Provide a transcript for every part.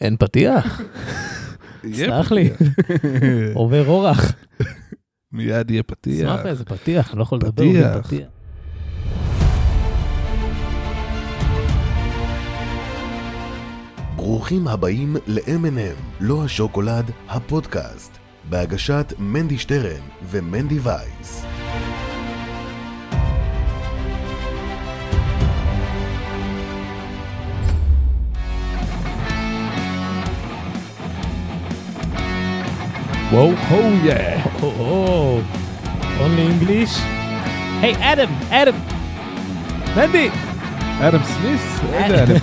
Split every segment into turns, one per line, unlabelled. אין פתיח,
יהיה
סלח לי,
פתיח.
עובר אורח.
מיד יהיה פתיח.
סלח לי, זה פתיח, אני לא יכול לדבר
פתיח.
בלי פתיח.
ברוכים הבאים ל-M&M, לא השוקולד, הפודקאסט, בהגשת מנדי שטרן ומנדי וייס.
וואו, הו יא.
או, אונלי אינגליש. היי, אדם, אדם. מנדי,
אדם סמיס? איזה אדם?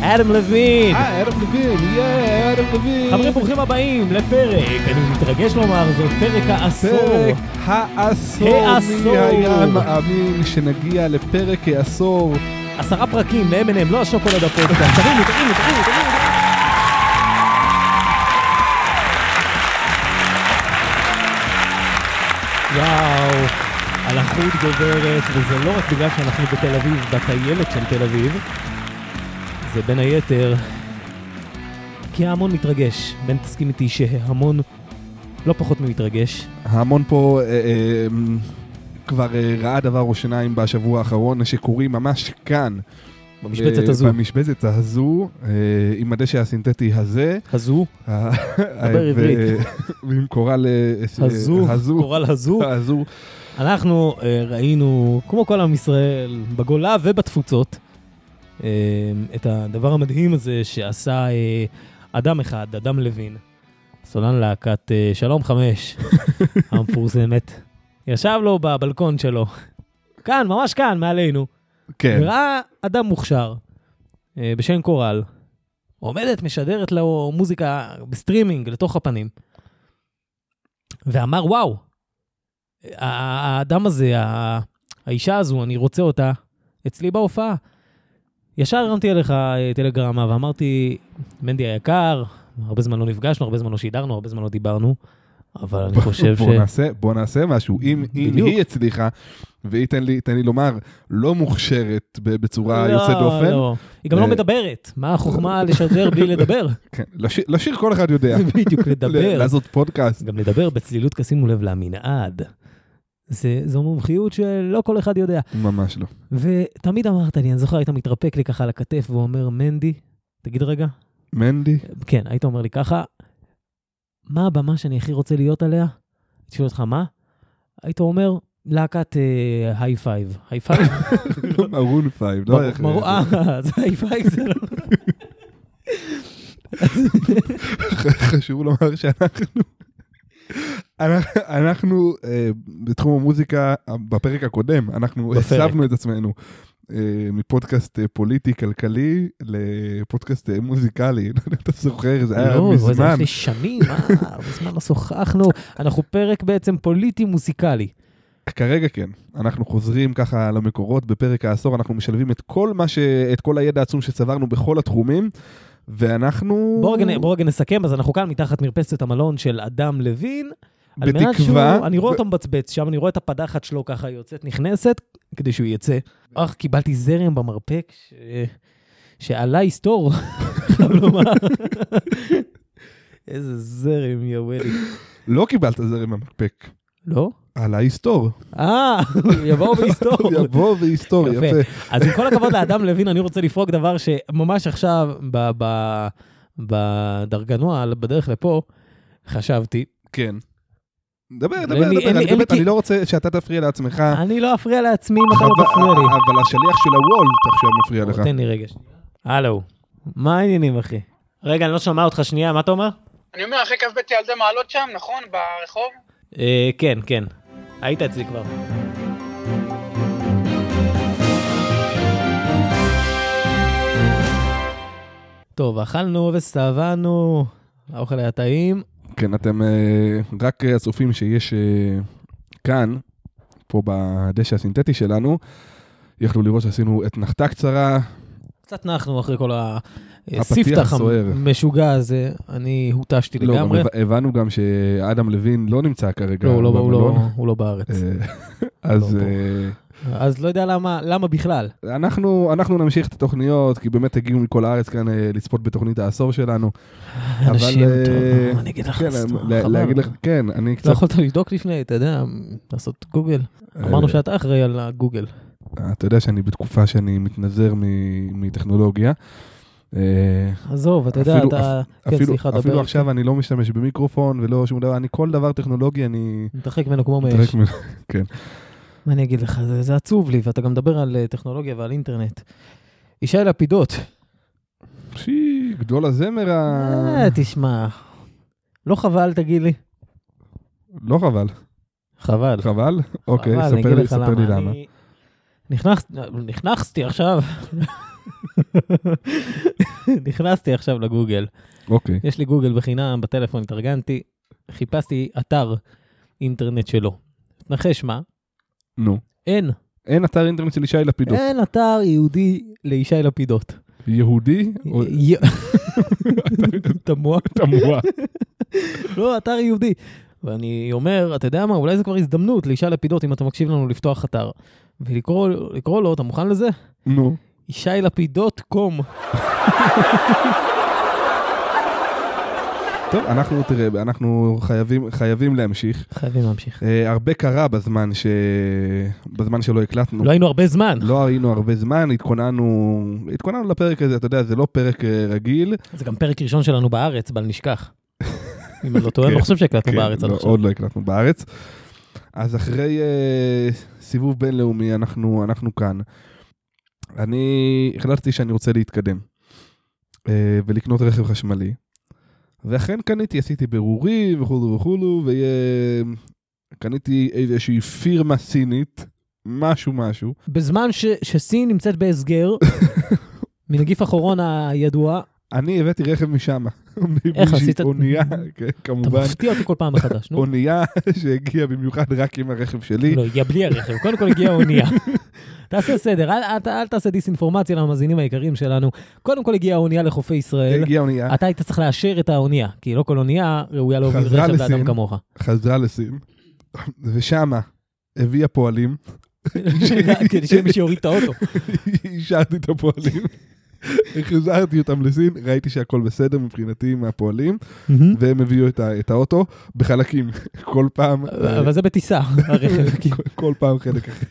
אדם לוין.
אה, אדם לוין, יא, אדם לוין.
חברים, ברוכים הבאים לפרק, אני מתרגש לומר זאת, פרק העשור.
פרק העשור,
העשור.
מי היה מאמין שנגיע לפרק העשור?
עשרה פרקים ל-M&M, לא השוקולד הפודקאסט. תרימו, תרימו, תרימו, תרימו. וואו, הלחות גוברת, וזה לא רק בגלל שאנחנו בתל אביב, בטיילת של תל אביב, זה בין היתר כי ההמון מתרגש. בן תסכים איתי שההמון לא פחות ממתרגש.
ההמון פה אה, אה, כבר אה, ראה דבר או שניים בשבוע האחרון שקורים ממש כאן.
במשבצת
אה,
הזו.
במשבצת הזו, אה, עם הדשא הסינתטי הזה.
הזו,
אה,
דבר עברית.
ו- ועם קורל אה,
הזו,
אה, הזו.
קורל הזו.
הזו.
אנחנו אה, ראינו, כמו כל עם ישראל, בגולה ובתפוצות, אה, את הדבר המדהים הזה שעשה אה, אדם אחד, אדם לוין, סולן להקת אה, שלום חמש, המפורסמת. ישב לו בבלקון שלו, כאן, ממש כאן, מעלינו,
כן.
וראה אדם מוכשר אה, בשם קורל, עומדת, משדרת לו מוזיקה בסטרימינג לתוך הפנים, ואמר, וואו, ה- האדם הזה, ה- האישה הזו, אני רוצה אותה אצלי בהופעה. ישר הרמתי אליך אה, טלגרמה ואמרתי, מנדי היקר, הרבה זמן לא נפגשנו, הרבה זמן לא שידרנו, הרבה זמן לא דיברנו, אבל אני חושב ש...
בוא נעשה, בוא נעשה משהו. אם, אם
בדיוק.
היא הצליחה, והיא, תן לי, תן לי לומר, לא מוכשרת ב- בצורה
לא,
יוצאת דופן,
לא. היא גם לא
אה,
מדברת, מה החוכמה לשדר בלי לדבר?
כן, לשיר, לשיר כל אחד יודע.
בדיוק, לדבר.
לעשות פודקאסט.
גם לדבר בצלילות, שימו לב, למנעד. זה, זו מומחיות שלא כל אחד יודע.
ממש לא.
ותמיד אמרת לי, אני זוכר, היית מתרפק לי ככה על הכתף ואומר, מנדי, תגיד רגע,
מנדי,
כן, היית אומר לי ככה, מה הבמה שאני הכי רוצה להיות עליה? הייתי שואל אותך, מה? היית אומר, להקת אה, היי פייב. היי פייב?
מרון פייב, לא איך...
מרו- אה, זה היי פייב, זה לא...
חשוב לומר שאנחנו... אנחנו- אנחנו אה, בתחום המוזיקה, אה, בפרק הקודם, אנחנו
בפרק.
הסבנו את עצמנו אה, מפודקאסט אה, פוליטי-כלכלי לפודקאסט אה, מוזיקלי. לא יודע אם אתה זוכר, זה היה
לא, זה היה
מזמן.
לפני שנים, אה, הרבה זמן לא שוחחנו. אנחנו פרק בעצם פוליטי-מוסיקלי.
כרגע כן, אנחנו חוזרים ככה למקורות בפרק העשור, אנחנו משלבים את כל מה ש... את כל הידע העצום שצברנו בכל התחומים, ואנחנו...
בואו רגע- בואו רגע נסכם, אז אנחנו כאן מתחת מרפסת המלון של אדם לוין. על מנת
בתקווה-
שהוא, אני רואה
ו-
אותו מבצבץ שם, אני רואה את הפדחת שלו ככה יוצאת, נכנסת, כדי שהוא יצא. אך, קיבלתי זרם במרפק, ש... שעלה יסתור, חייב לומר. איזה זרם, יא ולי.
לא קיבלת זרם המקפק,
לא?
עלה היסטור.
אה, יבואו ויסתור.
יבוא והיסטור,
לא. יפה.
יפה.
אז עם כל הכבוד לאדם לוין, אני רוצה לפרוק דבר שממש עכשיו, ב- ב- בדרגנוע, בדרך לפה, חשבתי.
כן. דבר, דבר,
אין לי-
דבר,
אין לי- אין
אני
לי
באמת,
כי-
אני לא רוצה שאתה תפריע לעצמך.
אני לא אפריע לעצמי אם אתה לא
אבל-
תפריע לי. לא,
אבל השליח של הוולט עכשיו מפריע
בוא,
לך.
תן לי רגע שנייה. הלו, מה העניינים אחי? רגע, אני לא שומע אותך שנייה, מה אתה אומר?
אני אומר, אחרי כ"ב ילדי מעלות שם, נכון? ברחוב?
אה, כן, כן. היית אצלי כבר. טוב, אכלנו ושבענו, האוכל היה טעים.
כן, אתם אה, רק אה, הצופים שיש אה, כאן, פה בדשא הסינתטי שלנו, יכלו לראות שעשינו אתנחתה קצרה,
קצת נחנו אחרי כל אה,
הפתיח
ספתח
הסוער.
המשוגע הזה, אני הותשתי
לא, גם
אוקיי, לגמרי.
הבנ- הבנו גם שאדם לוין לא נמצא כרגע
לא, הוא לא- הוא לא-
במלון.
הוא לא בארץ.
אה, אז
לא, אז לא יודע למה- למה בכלל.
אה, אנחנו אנחנו נמשיך את התוכניות, כי באמת הגיעו מכל הארץ כאן אה, לצפות בתוכנית העשור שלנו.
אנשים,
אה,
טוב, מה אני אגיד לך?
כן,
אז טוב,
לה-
חבל.
להגיד לך, כן, אני
לא
קצת...
יכולת לבדוק לפני, אתה יודע, לעשות גוגל. אמרנו שאתה אחראי על הגוגל.
אה, אתה יודע שאני בתקופה שאני מתנזר מ- מטכנולוגיה. אה,
עזוב, אתה יודע,
אפילו-
אתה... כן,
אפילו,
סליחה, דבר.
אפילו עכשיו אני לא משתמש במיקרופון ולא שום דבר, אני כל דבר טכנולוגי, אני...
מתרחק ממנו כמו
מתרחק
מאש.
ממנו.
מה אני אגיד לך, זה- זה עצוב לי, ואתה גם מדבר על אה, טכנולוגיה ועל אינטרנט. ישי לפידות.
שי, גדול הזמר ה...
אה, תשמע, לא חבל, תגיד לי.
לא חבל.
חבל.
חבל? אוקיי,
חבל, אני
ספר
אגיד
לי,
לך
ספר לי למה.
אני נכנס- נכנסתי עכשיו. נכנסתי עכשיו לגוגל.
אוקיי.
יש לי גוגל בחינם, בטלפון התארגנתי, חיפשתי אתר אינטרנט שלו. תנחש מה?
נו.
אין.
אין אתר אינטרנט של ישי לפידות.
אין אתר יהודי לישי לפידות.
יהודי? או-
אה, י- תמוה.
תמוה.
לא, אתר יהודי. ואני אומר, אתה יודע מה, אולי זו כבר הזדמנות לישי לפידות, אם אתה מקשיב לנו, לפתוח אתר. ולקרוא לקרוא לו, אתה מוכן לזה?
נו.
ישי לפידות קום.
טוב, אנחנו, תראה, אנחנו חייבים- חייבים להמשיך.
חייבים להמשיך.
אה, הרבה קרה בזמן ש... בזמן שלא הקלטנו.
לא היינו הרבה זמן.
לא היינו הרבה זמן, התכוננו, התכוננו לפרק הזה, אתה יודע, זה לא פרק אה, רגיל.
זה גם פרק ראשון שלנו בארץ, בל נשכח. אם אני לא טועה, אני לא
כן,
חושב שהקלטנו בארץ עד
לא,
עכשיו.
עוד לא הקלטנו בארץ. אז אחרי אה, סיבוב בינלאומי, אנחנו, אנחנו כאן. אני החלטתי שאני רוצה להתקדם אה, ולקנות רכב חשמלי. ואכן קניתי, עשיתי בירורים וכולו וכולו, וקניתי איזושהי פירמה סינית, משהו משהו.
בזמן ש, שסין נמצאת בהסגר, מנגיף הקורונה הידוע,
אני הבאתי רכב משם. באיזושהי
עשית?
אונייה, כן,
אתה
כמובן.
מפתיע אותי כל פעם מחדש, נו.
אונייה שהגיעה במיוחד רק עם הרכב שלי.
לא, הגיע בלי הרכב, קודם כל הגיעה אונייה. תעשה סדר, אל, אל, אל תעשה דיסאינפורמציה למאזינים היקרים שלנו. קודם כל הגיעה האונייה לחופי ישראל,
הגיעה אונייה.
אתה היית צריך לאשר את האונייה, כי לא כל אונייה ראויה להוביל
חזרה
רכב
לסין.
לאדם כמוך.
חזרה לסין, ושמה הביאה פועלים,
כדי כן, שיהיה מי שיוריד את האוטו.
השארתי את הפועלים, החזרתי אותם לסין, ראיתי שהכל בסדר מבחינתי עם הפועלים, והם הביאו את, ה- את האוטו בחלקים, כל פעם,
אבל זה בטיסה, הרכב. כאילו.
כל, כל פעם חלק אחר.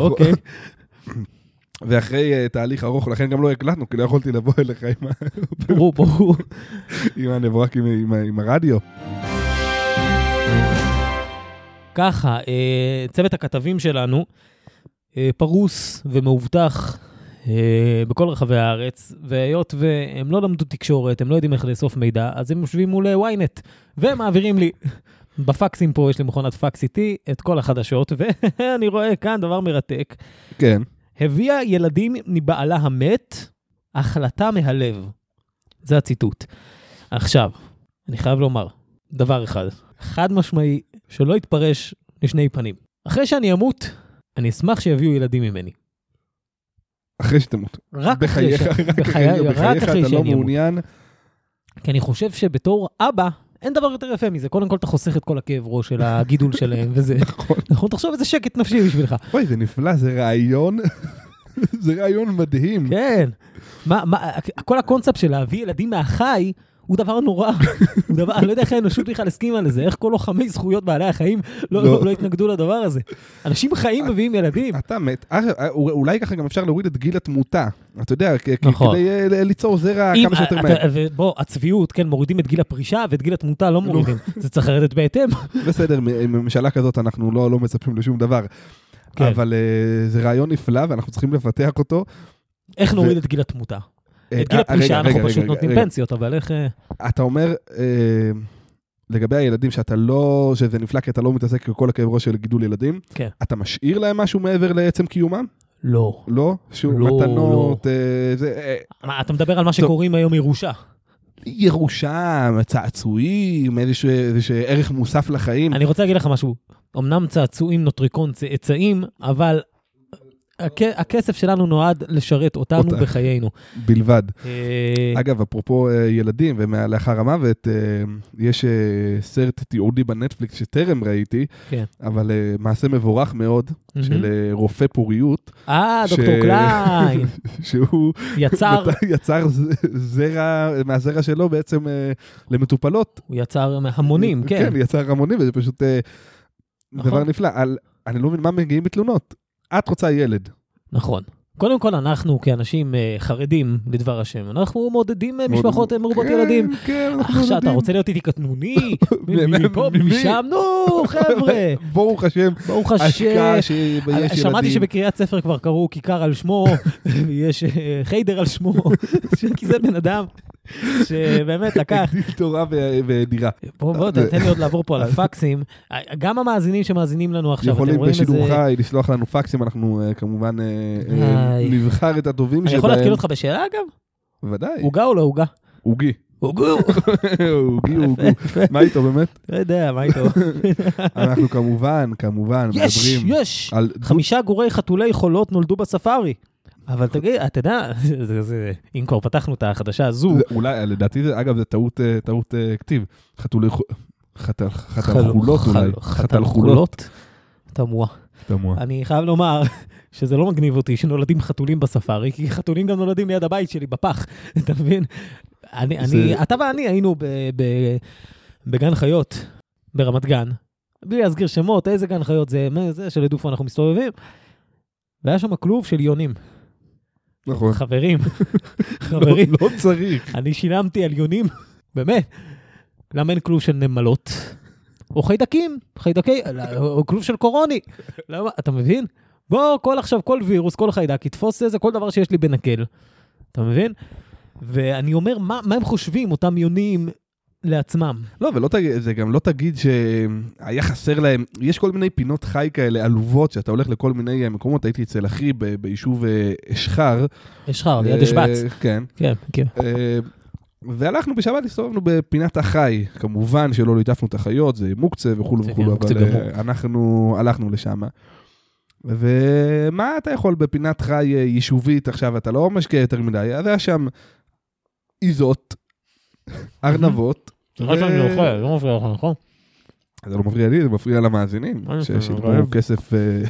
אוקיי.
ואחרי אה, תהליך ארוך, לכן גם לא הקלטנו, כי לא יכולתי לבוא אליך עם, ה-
ברור, ברור.
עם הנברק, עם, עם, ה- עם הרדיו.
ככה, אה, צוות הכתבים שלנו אה, פרוס ומאובטח אה, בכל רחבי הארץ, והיות והם לא למדו תקשורת, הם לא יודעים איך לאסוף מידע, אז הם יושבים מול אה, ynet, והם מעבירים לי. בפקסים פה יש לי מכונת פקס איתי, את כל החדשות, ואני רואה כאן דבר מרתק.
כן,
הביאה ילדים מבעלה המת, החלטה מהלב. זה הציטוט. עכשיו, אני חייב לומר דבר אחד, חד משמעי, שלא יתפרש לשני פנים. אחרי שאני אמות, אני אשמח שיביאו ילדים ממני.
אחרי שתמות.
רק אחרי
בחייך,
ש...
רק
בחיי-
אחרי-
רק
בחייך
אחרי
אתה לא
שאני אמות.
מעוניין.
כי אני חושב שבתור אבא, אין דבר יותר יפה מזה. קודם כל, אתה חוסך את כל הכאב ראש של הגידול שלהם, וזה...
נכון.
נכון, תחשוב איזה שקט נפשי בשבילך.
אוי, זה נפלא, זה רעיון, זה רעיון מדהים.
כן. מה, מה, כל הקונספט של להביא ילדים מהחי הוא דבר נורא. הוא דבר, אני לא יודע איך האנושות בכלל הסכימה לזה, איך כל לוחמי זכויות בעלי החיים לא,
לא.
לא. לא התנגדו לדבר הזה. אנשים חיים מביאים ילדים.
אתה מת, אה, אולי ככה גם אפשר להוריד את גיל התמותה, אתה יודע, כ- כ-
נכון.
כדי אה, ל- ליצור זרע
אם- אה,
כמה שיותר
אתה-
מהר.
ובוא, הצביעות, כן, מורידים את גיל הפרישה ואת גיל התמותה לא מורידים. זה צריך לרדת בהתאם.
בסדר, מ- מממשלה כזאת אנחנו לא לא מצפים לשום דבר,
כן.
אבל אה, זה רעיון נפלא ואנחנו צריכים לפתח אותו.
איך
ו-
נוריד את גיל התמותה?
אה,
את גיל
אה, רגע,
הפרישה אנחנו
רגע,
פשוט
רגע,
נותנים
רגע.
פנסיות, אבל איך... אה,
אתה אומר, אה, לגבי הילדים שאתה לא, שזה נפלא כי אתה לא מתעסק בכל הכאב ראש של גידול ילדים,
כן.
אתה משאיר להם משהו מעבר לעצם קיומם?
לא.
לא? שום
לא,
מתנות, אה, זה... אה,
מה, אתה מדבר על מה שקוראים היום ירושה.
ירושה, צעצועים, איזשהו, איזשהו ערך מוסף לחיים.
אני רוצה להגיד לך משהו. אמנם צעצועים נוטריקון צאצאים, אבל הכ- הכסף שלנו נועד לשרת אותנו
אותך.
בחיינו.
בלבד.
אה,
אגב, אפרופו אה, ילדים ולאחר המוות, אה, יש אה, סרט תיעודי בנטפליקס שטרם ראיתי,
כן.
אבל אה, מעשה מבורך מאוד של אה, רופא פוריות,
אה,
ש-
דוקטור קליין,
שהוא
יצר,
מת- יצר ז- זרע, מהזרע שלו בעצם אה, למטופלות.
הוא יצר המונים, כן.
כן, יצר המונים, וזה פשוט אה,
נכון.
דבר נפלא. על- אני לא מבין מה מגיעים בתלונות. את רוצה ילד.
נכון. קודם כל, אנחנו כאנשים אה, חרדים לדבר השם, אנחנו מעודדים אה, משפחות אה, מרובות
כן,
ילדים.
כן, אנחנו
אח שאתה
יודעים.
רוצה להיות איתי קטנוני,
מ- מ-
מפה,
מ- מי?
משם, נו, חבר'ה,
ברוך השם,
ברוך השם.
השקעה שיש ילדים.
שמעתי שבקריית ספר כבר קראו כיכר על שמו, ויש אה, חיידר על שמו, כי זה בן אדם שבאמת לקח.
גיל תורה ו- ודירה.
בוא, בוא, תן לי עוד לעבור פה על הפקסים. גם המאזינים שמאזינים לנו עכשיו, אתם
יכולים
רואים איזה...
בשידור חי לשלוח לנו פקסים, אנחנו אה, כמובן אה, אה,
איי.
נבחר את הטובים שבהם.
אני יכול להתקיל אותך בשאלה אגב?
ודאי.
עוגה או לא עוגה?
עוגי.
עוגו!
עוגי, עוגי.
יפה, יפה.
מה איתו באמת?
לא יודע, מה איתו?
אנחנו כמובן, כמובן,
יש,
מדברים
יש!
על דו-
חמישה גורי חתולי חולות נולדו בספארי. אבל תגיד, אתה יודע, זה- זה- זה- אם כבר פתחנו את החדשה הזו,
זה- אולי, אה, לדעתי, זה- אגב, זו טעות אה, טעות אה, כתיב. חתולי חו- חתל-
חל-
חתלחולות
חל-
אולי. חתלחולות.
חתלחולות. תמוה.
תמוה.
אני חייב לומר שזה לא מגניב אותי שנולדים חתולים בספארי, כי חתולים גם נולדים ליד הבית שלי, בפח, אתה מבין? אני,
זה-
אני, אתה ואני היינו ב, ב, בגן חיות ברמת גן, בלי להזכיר שמות, איזה גן חיות זה, מה זה שלדופו אנחנו מסתובבים, והיה שם כלוב של יונים.
נכון.
חברים,
לא-
חברים,
לא צריך.
אני שילמתי על יונים, באמת. למה אין כלוב של נמלות? או חיידקים, חיידקי, לא, או כלוב של קורוני. למה, אתה מבין? בוא, כל עכשיו, כל וירוס, כל חיידק, יתפוס איזה, כל דבר שיש לי בנקל. אתה מבין? ואני אומר, מה, מה הם חושבים, אותם יונים, לעצמם?
לא, ולא תגיד, זה גם לא תגיד שהיה חסר להם, יש כל מיני פינות חי כאלה עלובות, שאתה הולך לכל מיני אה, מקומות, הייתי אצל אחי ב- ביישוב אה, אשחר.
יש לך, ליד
אה,
אשבץ.
כן.
כן, כן.
אה, והלכנו בשבת, הסתובבנו בפינת החי. כמובן שלא ליטפנו את החיות, זה מוקצה וכולו
זה
וכולו,
כן, מוקצה
אבל אה,
גמור.
אנחנו הלכנו לשם. ומה אתה יכול בפינת חי אה, יישובית עכשיו, אתה לא משקיע יותר מדי, אז היה שם עיזות, ארנבות. ו-
לא מפריע לך, נכון?
זה לא מפריע לי, זה מפריע למאזינים,
מה זה,
ששילמו
רעב?
כסף אה,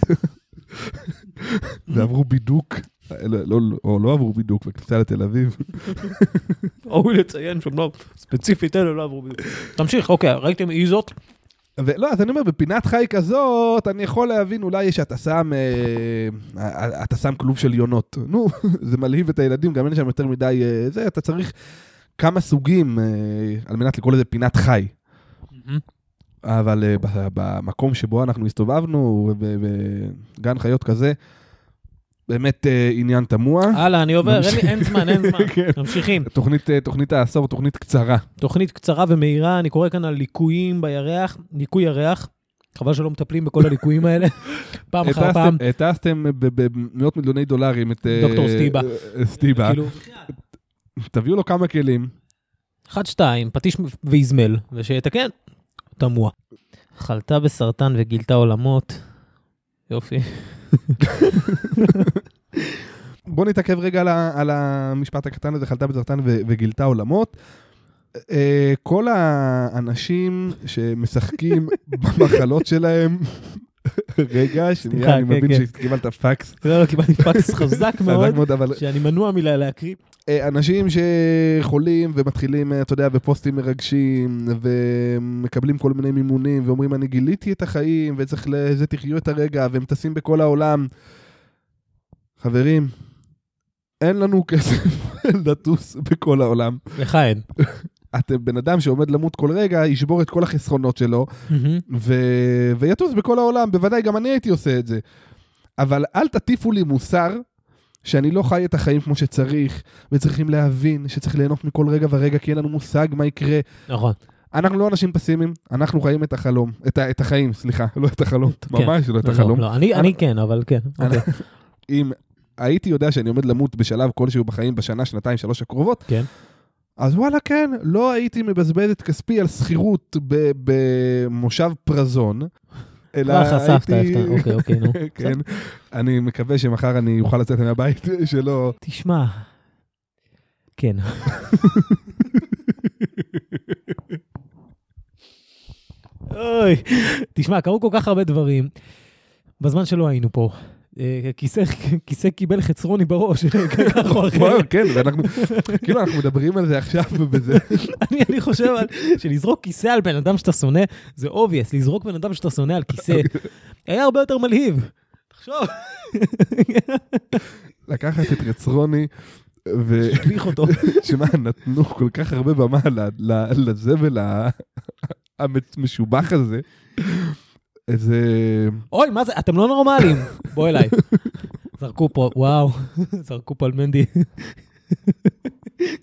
ועברו בידוק, אה, לא- לא- או לא עברו בידוק, בכניסה לתל אביב.
ראוי לציין שהם לא, ספציפית אלה לא עברו בדיוק. תמשיך, אוקיי, ראיתם איזות?
ולא, אז אני אומר, בפינת חי כזאת, אני יכול להבין אולי שאתה שם, אה, אה, אתה שם כלוב של יונות. נו, זה מלהיב את הילדים, גם אין שם יותר מדי אה, זה, אתה צריך כמה סוגים אה, על מנת לקרוא לזה פינת חי.
אה,
אבל אה, ב- במקום שבו אנחנו הסתובבנו, ב- בגן חיות כזה, באמת אה, עניין תמוה.
הלאה, אני עובר, אין
ממשיך.
לי- אין זמן, אין זמן.
כן.
ממשיכים.
תוכנית, אה, תוכנית העשור, תוכנית קצרה.
תוכנית קצרה ומהירה, אני קורא כאן על ליקויים בירח, ליקוי ירח. חבל שלא מטפלים בכל הליקויים האלה, פעם אחר פעם.
הטסתם- הטסתם במאות מיליוני דולרים את... אה,
דוקטור סטיבה.
אה, סטיבה.
כאילו,
תביאו לו כמה כלים.
אחד, שתיים, פטיש ואיזמל, ושיתקן, תמוה. חלתה בסרטן וגילתה עולמות. יופי.
בוא נתעכב רגע על, ה, על המשפט הקטן הזה, חלתה בזרטן ו, וגילתה עולמות. אה, כל האנשים שמשחקים במחלות שלהם,
סליחה,
רגע, שנייה, אני
כן,
מבין
כן.
שקיבלת פקס.
לא, לא, קיבלתי פקס חזק מאוד,
חזק מאוד, אבל
שאני מנוע מלהקריא.
אה, אנשים שחולים ומתחילים, אה, אתה יודע, בפוסטים מרגשים, ומקבלים כל מיני מימונים, ואומרים, אני גיליתי את החיים, וצריך לזה תחיו את הרגע, והם טסים בכל העולם. חברים, אין לנו כסף לטוס בכל העולם.
לכהן.
אתם בן אדם שעומד למות כל רגע, ישבור את כל החסכונות שלו,
מהמם.
ו... ויטוס בכל העולם, בוודאי גם אני הייתי עושה את זה. אבל אל תטיפו לי מוסר שאני לא חי את החיים כמו שצריך, וצריכים להבין שצריך ליהנות מכל רגע ורגע, כי אין לנו מושג מה יקרה.
נכון.
אנחנו לא אנשים פסימיים, אנחנו חיים את החלום, את, ה... את החיים, סליחה, לא את החלום,
כן.
ממש לא את
לא,
החלום.
לא, אני- אני כן, אבל כן. אוקיי.
אם הייתי יודע שאני עומד למות בשלב כלשהו בחיים בשנה, שנתיים, שלוש הקרובות,
כן.
אז וואלה כן, לא הייתי מבזבז את כספי על שכירות ב- במושב פרזון, אלא
אה, חשפת,
הייתי-
אהבת, אוקיי, אוקיי, נו.
כן, אני מקווה שמחר אני אוכל לצאת מהבית שלא...
תשמע, כן. אוי, תשמע, קרו כל כך הרבה דברים בזמן שלא היינו פה. אה, כיסא, כיסא קיבל חצרוני בראש, אה, כך או אחרת.
כן, ואנחנו, כאילו אנחנו מדברים על זה עכשיו ובזה.
אני, אני חושב על, שלזרוק כיסא על בן אדם שאתה שונא, זה obvious, לזרוק בן אדם שאתה שונא על כיסא, היה הרבה יותר מלהיב. תחשוב,
לקחת את רצרוני, ו...
תביך אותו.
שמע, נתנו כל כך הרבה במה ל- ל- לזבל ה- המשובח הזה. איזה...
אוי, מה זה, אתם לא נורמלים. בוא אליי. זרקו פה, וואו, זרקו פה על מנדי.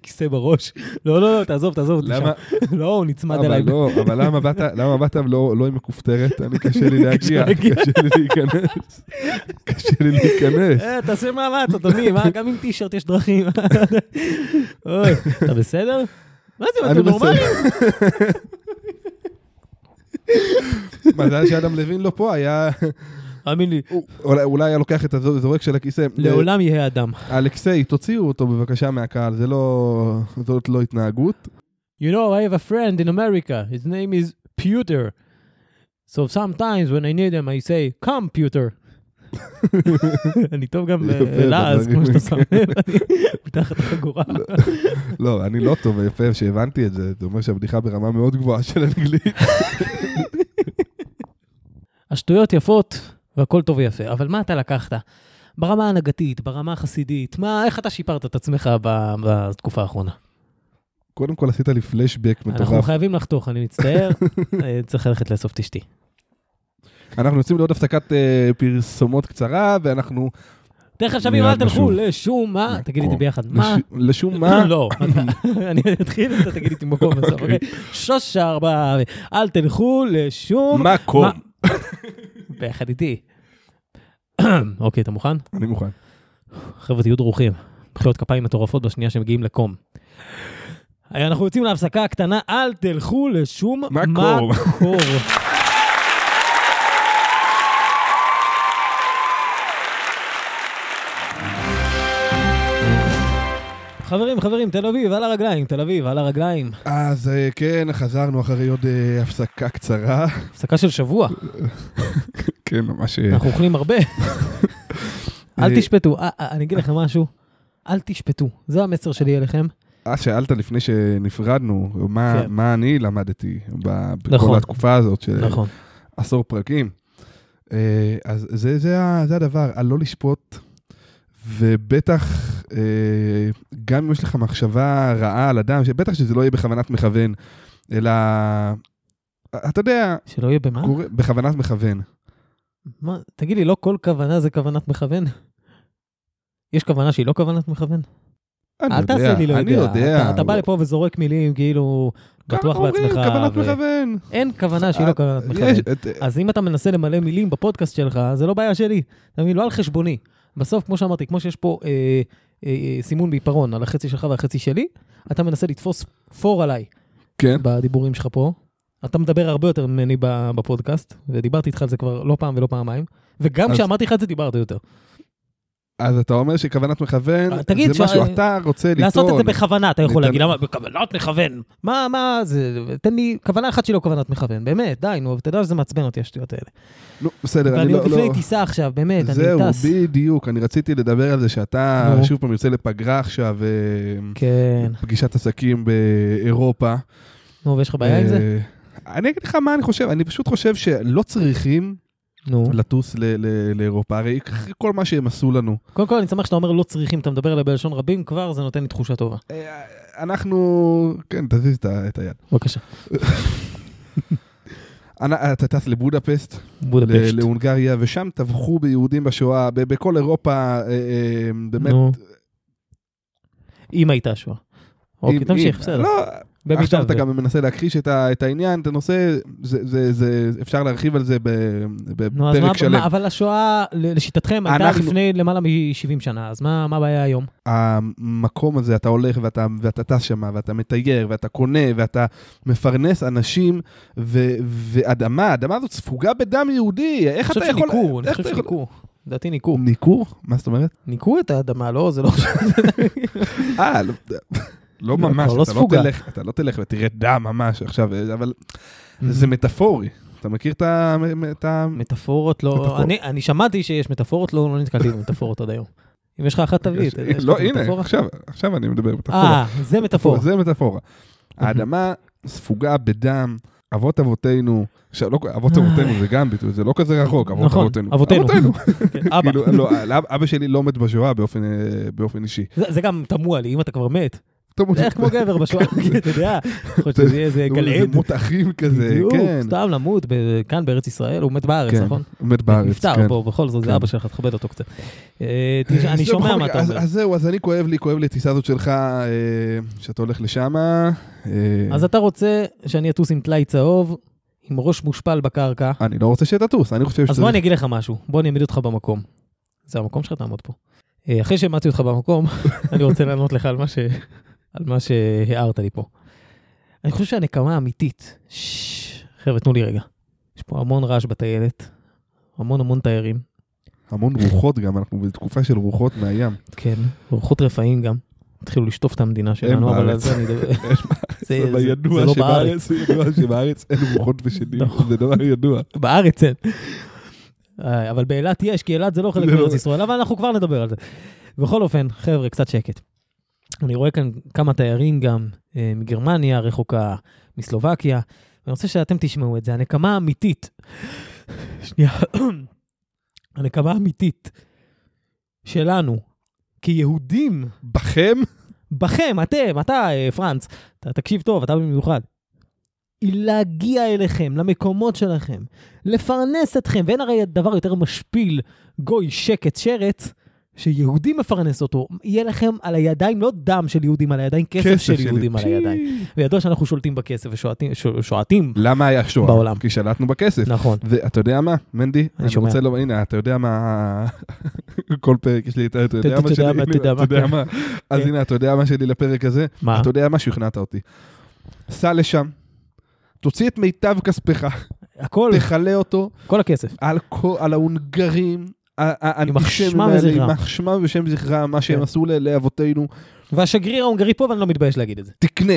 כיסא בראש. לא, לא, לא, תעזוב, תעזוב אותי
למה?
שם. לא, הוא נצמד
אבל
אליי.
לא, אבל למה באת, למה באת לא, לא עם הכופתרת? אני קשה לי להגיע,
להגיע.
קשה לי להיכנס. קשה לי להיכנס.
אה, תעשה מאמץ, אדוני, מה, גם עם טישרט יש דרכים. אוי, אתה בסדר? מה זה,
אני
אתם נורמלים?
מזל שאדם לוין לא פה, היה...
האמין לי,
הוא- אולי- אולי היה לוקח את הזורק של הכיסא. אה,
לעולם יהיה אדם.
אלכסיי, תוציאו אותו בבקשה מהקהל, זה לא... זאת לא התנהגות.
You know, I have a friend in America. His name is Pewter. So sometimes when I need him, I say, come, Pewter. אני טוב גם
יפה,
בלעז, כמו
בדברים.
שאתה שם לב, אני מתחת לחגורה.
לא, אני לא טוב, יפה שהבנתי את זה, זה אומר שהבדיחה ברמה מאוד גבוהה של אנגלית.
השטויות יפות והכל טוב ויפה, אבל מה אתה לקחת? ברמה ההנהגתית, ברמה החסידית, מה, איך אתה שיפרת את עצמך ב- בתקופה האחרונה?
קודם כל עשית לי פלשבק
אנחנו
מטורף.
חייבים לחתוך, אני מצטער, אה, צריך ללכת לאסוף את אשתי.
אנחנו יוצאים לעוד הפסקת אה, פרסומות קצרה, ואנחנו...
תכף שווים, אל
מיד
תלכו
נשוב.
לשום מה, תגיד איתי ביחד, מה?
לש- לשום מה?
לא, אני אתחיל ואתה תגיד איתי מקום בסוף, אוקיי? שוש ארבע, אל תלכו לשום...
מה קום?
ביחד איתי. אוקיי, אתה מוכן?
אני מוכן.
חבר'ה, תהיו דרוכים. מחיאות כפיים מטורפות בשנייה שמגיעים לקום. אה, אנחנו יוצאים להפסקה הקטנה, אל תלכו לשום
מקום.
מקור. חברים, חברים, תל אביב, על הרגליים, תל אביב, על הרגליים.
אז אה, כן, חזרנו אחרי עוד אה, הפסקה קצרה.
הפסקה של שבוע,
אה. כן, ממש... אה,
אנחנו אוכלים הרבה. אל תשפטו, אה, אה, אני אגיד לכם משהו, אל תשפטו, זה המסר שלי אליכם.
אה, שאלת לפני שנפרדנו, מה,
כן.
מה אני למדתי ב- בכל
נכון.
התקופה הזאת של
נכון.
עשור פרקים. אה, אז זה, זה, ה- זה הדבר, על לא לשפוט, ובטח, אה, גם אם יש לך מחשבה רעה על אדם, שבטח שזה לא יהיה בכוונת מכוון, אלא, אתה יודע,
שלא יהיה במה?
קורה, בכוונת מכוון.
מה, תגיד לי, לא כל כוונה זה כוונת מכוון? יש כוונה שהיא לא כוונת מכוון?
אני
אל
יודע,
תעשה לי לא
אני
יודע.
יודע.
אתה, אתה בא
אבל-
לפה וזורק מילים כאילו
כמה
בטוח
אומרים,
בעצמך.
כוונת
ו-
מכוון. אה,
אין כוונה שהיא לא כוונת מכוון.
יש, את-
אז אם אתה מנסה למלא מילים בפודקאסט שלך, זה לא בעיה שלי. אתה מבין? לא על חשבוני. בסוף, כמו שאמרתי, כמו שיש פה אה, אה, אה, סימון בעיפרון על החצי שלך והחצי שלי, אתה מנסה לתפוס פור עליי
כן.
בדיבורים שלך פה. אתה מדבר הרבה יותר ממני ב- בפודקאסט, ודיברתי איתך על זה כבר לא פעם ולא פעמיים, וגם
אז-
כשאמרתי לך את זה דיברת יותר.
אז אתה אומר שכוונת מכוון,
אה, תגיד
זה
ש-
משהו אתה רוצה לטעון.
לעשות את זה בכוונה, אתה יכול
ניתן-
להגיד, למה בכוונת מכוון? מה, מה, זה, תן לי כוונה אחת שהיא לא כוונת מכוון, באמת, די, נו, אבל אתה יודע שזה מעצבן אותי, השטויות האלה.
נו, בסדר, אני
ואני
לא...
עוד לפני
לא-
טיסה עכשיו, באמת, אני
זהו,
טס.
בדיוק, אני רציתי לדבר על זה שאתה
נו.
שוב פעם יוצא לפגרה עכשיו, אה,
כן,
פגישת עסקים באירופה.
נו, ויש לך בעיה עם זה?
אה, אני אגיד לך מה אני חושב, אני פשוט חושב שלא צריכים
נו.
לטוס ל- ל- לאירופה, הרי אחרי כל מה שהם עשו לנו.
קודם כל, אני שמח שאתה אומר לא צריכים, אתה מדבר עליה בלשון רבים, כבר זה נותן לי תחושה טובה.
אה, אנחנו, כן, תזיז את ה- את היד.
בבקשה.
אנ- אתה טס לבודפסט,
בודפשט.
ל- להונגריה, ושם טבחו ביהודים בשואה, ב- בכל אירופה, אה, אה, באמת,
נו. אם הייתה שואה. אוקיי,
אם-
תמשיך,
אם-
בסדר.
לא,
במידה
עכשיו אתה
ו-
גם מנסה להכחיש את, ה, את העניין, את הנושא, זה, זה, זה, אפשר להרחיב על זה ב,
נו, אז
בפרק
מה,
שלם.
מה, אבל השואה, ל- לשיטתכם, הייתה
אנחנו-
לפני למעלה מ-70 שנה, אז מה מה הבעיה היום?
המקום הזה, אתה הולך ואתה, ואתה טס שם, ואתה מתייר, ואתה קונה, ואתה מפרנס אנשים, ו, ואדמה, האדמה הזאת ספוגה בדם יהודי, איך
אני
אתה
חושב
יכול...
שניקו,
איך
אני חושב
אתה יכול-
שניקו. לדעתי ניקו.
ניכור? מה זאת אומרת?
ניקו את האדמה, לא? זה לא...
אה, לא- לא
כבר
ממש,
לא
אתה לא
ספוגה.
תלך- אתה לא תלך ותראה דם ממש עכשיו, אבל
Mm-hmm.
זה מטאפורי. אתה מכיר את ה... את ה-
מטאפורות לא...
מטאפורות.
אני- אני שמעתי שיש מטאפורות, לא לא נתקלתי במטאפורות עד היום. אם יש לך אחת תביא, אתה יודע, יש לך
לא,
איזה
הנה,
מטאפורה?
עכשיו, עכשיו אני מדבר מטאפורה.
אה, זה מטאפורה. Mm-hmm.
זה מטאפורה. האדמה ספוגה בדם, אבות אבותינו, עכשיו, לא, אבות
אה.
אבותינו זה גם ביטוי, זה לא כזה רחוק, אבות
נכון,
אבותינו.
אבותינו. כן, אבא.
כאילו, לא, אבא שלי לא מת בשואה באופן, אה, באופן אישי.
זה- זה גם תמוה לי, אם אתה כבר מת.
אתה מוצא-
זה איך כמו גבר בשואה,
כן.
אתה יודע, יכול להיות
זה-
שזה יהיה איזה
זה
גלעד.
מות אחים כזה,
בדיוק,
כן.
סתם למות ב- כאן בארץ ישראל, הוא מת בארץ,
כן,
נכון?
הוא מת בארץ,
נפטר,
כן.
בוא, בכל זאת, זה
כן.
אבא שלך, תכבד אותו קצת. אה, תשמע, אני
אז זהו,
שומע
בכל
מה
מקרה,
אתה
אז-
אומר.
אז זהו, אז אני כואב לי, כואב לי הטיסה הזאת שלך, אה, שאתה הולך אה, לשם.
אז אתה רוצה שאני אטוס עם טלאי צהוב, עם ראש מושפל בקרקע.
אני לא רוצה שתטוס, אני חושב
אז בוא
שצריך...
אני אגיד לך משהו, בוא אני אעמיד אותך במקום. זה המקום שלך, תעמוד פה. אה, אחרי שהעמדתי אותך במקום, אני רוצה לענות לך על מה, ש... על מה שהערת לי פה. אני חושב שהנקמה האמיתית, ששש, חבר'ה, תנו לי רגע. יש פה המון רעש בטיילת, המון המון תיירים,
המון רוחות גם, אנחנו בתקופה של רוחות מהים.
כן, אורחות רפאים גם. התחילו לשטוף את המדינה שלנו, אבל על
בארץ.
זה אני אדבר. זה-
אבל
זה-
ידוע
זה לא בארץ.
שבארץ, ידוע שבארץ אין רוחות ושדים,
נכון.
זה דבר ידוע.
בארץ אין. אה, אבל באילת יש, כי אילת זה לא חלק
זה לא-
מארץ ישראל, אבל אנחנו כבר נדבר על זה. בכל אופן, חבר'ה, קצת שקט. אני רואה כאן כמה תיירים גם אה, מגרמניה הרחוקה, מסלובקיה. אני רוצה שאתם תשמעו את זה. הנקמה האמיתית, שנייה, הנקמה האמיתית שלנו כיהודים,
בכם?
בכם, אתם, אתה, אה, פרנץ, אתה תקשיב טוב, אתה במיוחד. היא להגיע אליכם, למקומות שלכם, לפרנס אתכם, ואין הרי דבר יותר משפיל, גוי, שקט, שרץ, שיהודי מפרנס אותו. יהיה לכם על הידיים, לא דם של יהודים על הידיים, כסף, של
שלי.
יהודים על
פשי.
הידיים. וידוע שאנחנו שולטים בכסף ושועטים, ש- שועטים,
למה היה שואה?
בעולם.
כי שלטנו בכסף.
נכון.
ואתה יודע מה, מנדי?
שומע.
רוצה לומר, הנה, אתה יודע מה... כל פרק יש לי את ה... אתה יודע
אתה
מה
יודע
שלי?
מה, אתה
הנה,
יודע מה,
אתה יודע
כן.
מה. אז
כן.
הנה, אתה יודע מה שלי לפרק הזה?
מה?
אתה יודע מה? שכנעת אותי. סע לשם, תוציא את מיטב כספך,
הכל,
תכלה אותו,
כל הכסף.
על, כל, על ההונגרים, ה- ה- האנטישמים
אחשמם
האלה,
וזכרם.
עם אחשמם ושם זכרם, מה שהם
כן.
עשו ל- לאבותינו,
והשגריר ההונגרי פה, ואני לא מתבייש להגיד את זה.
תקנה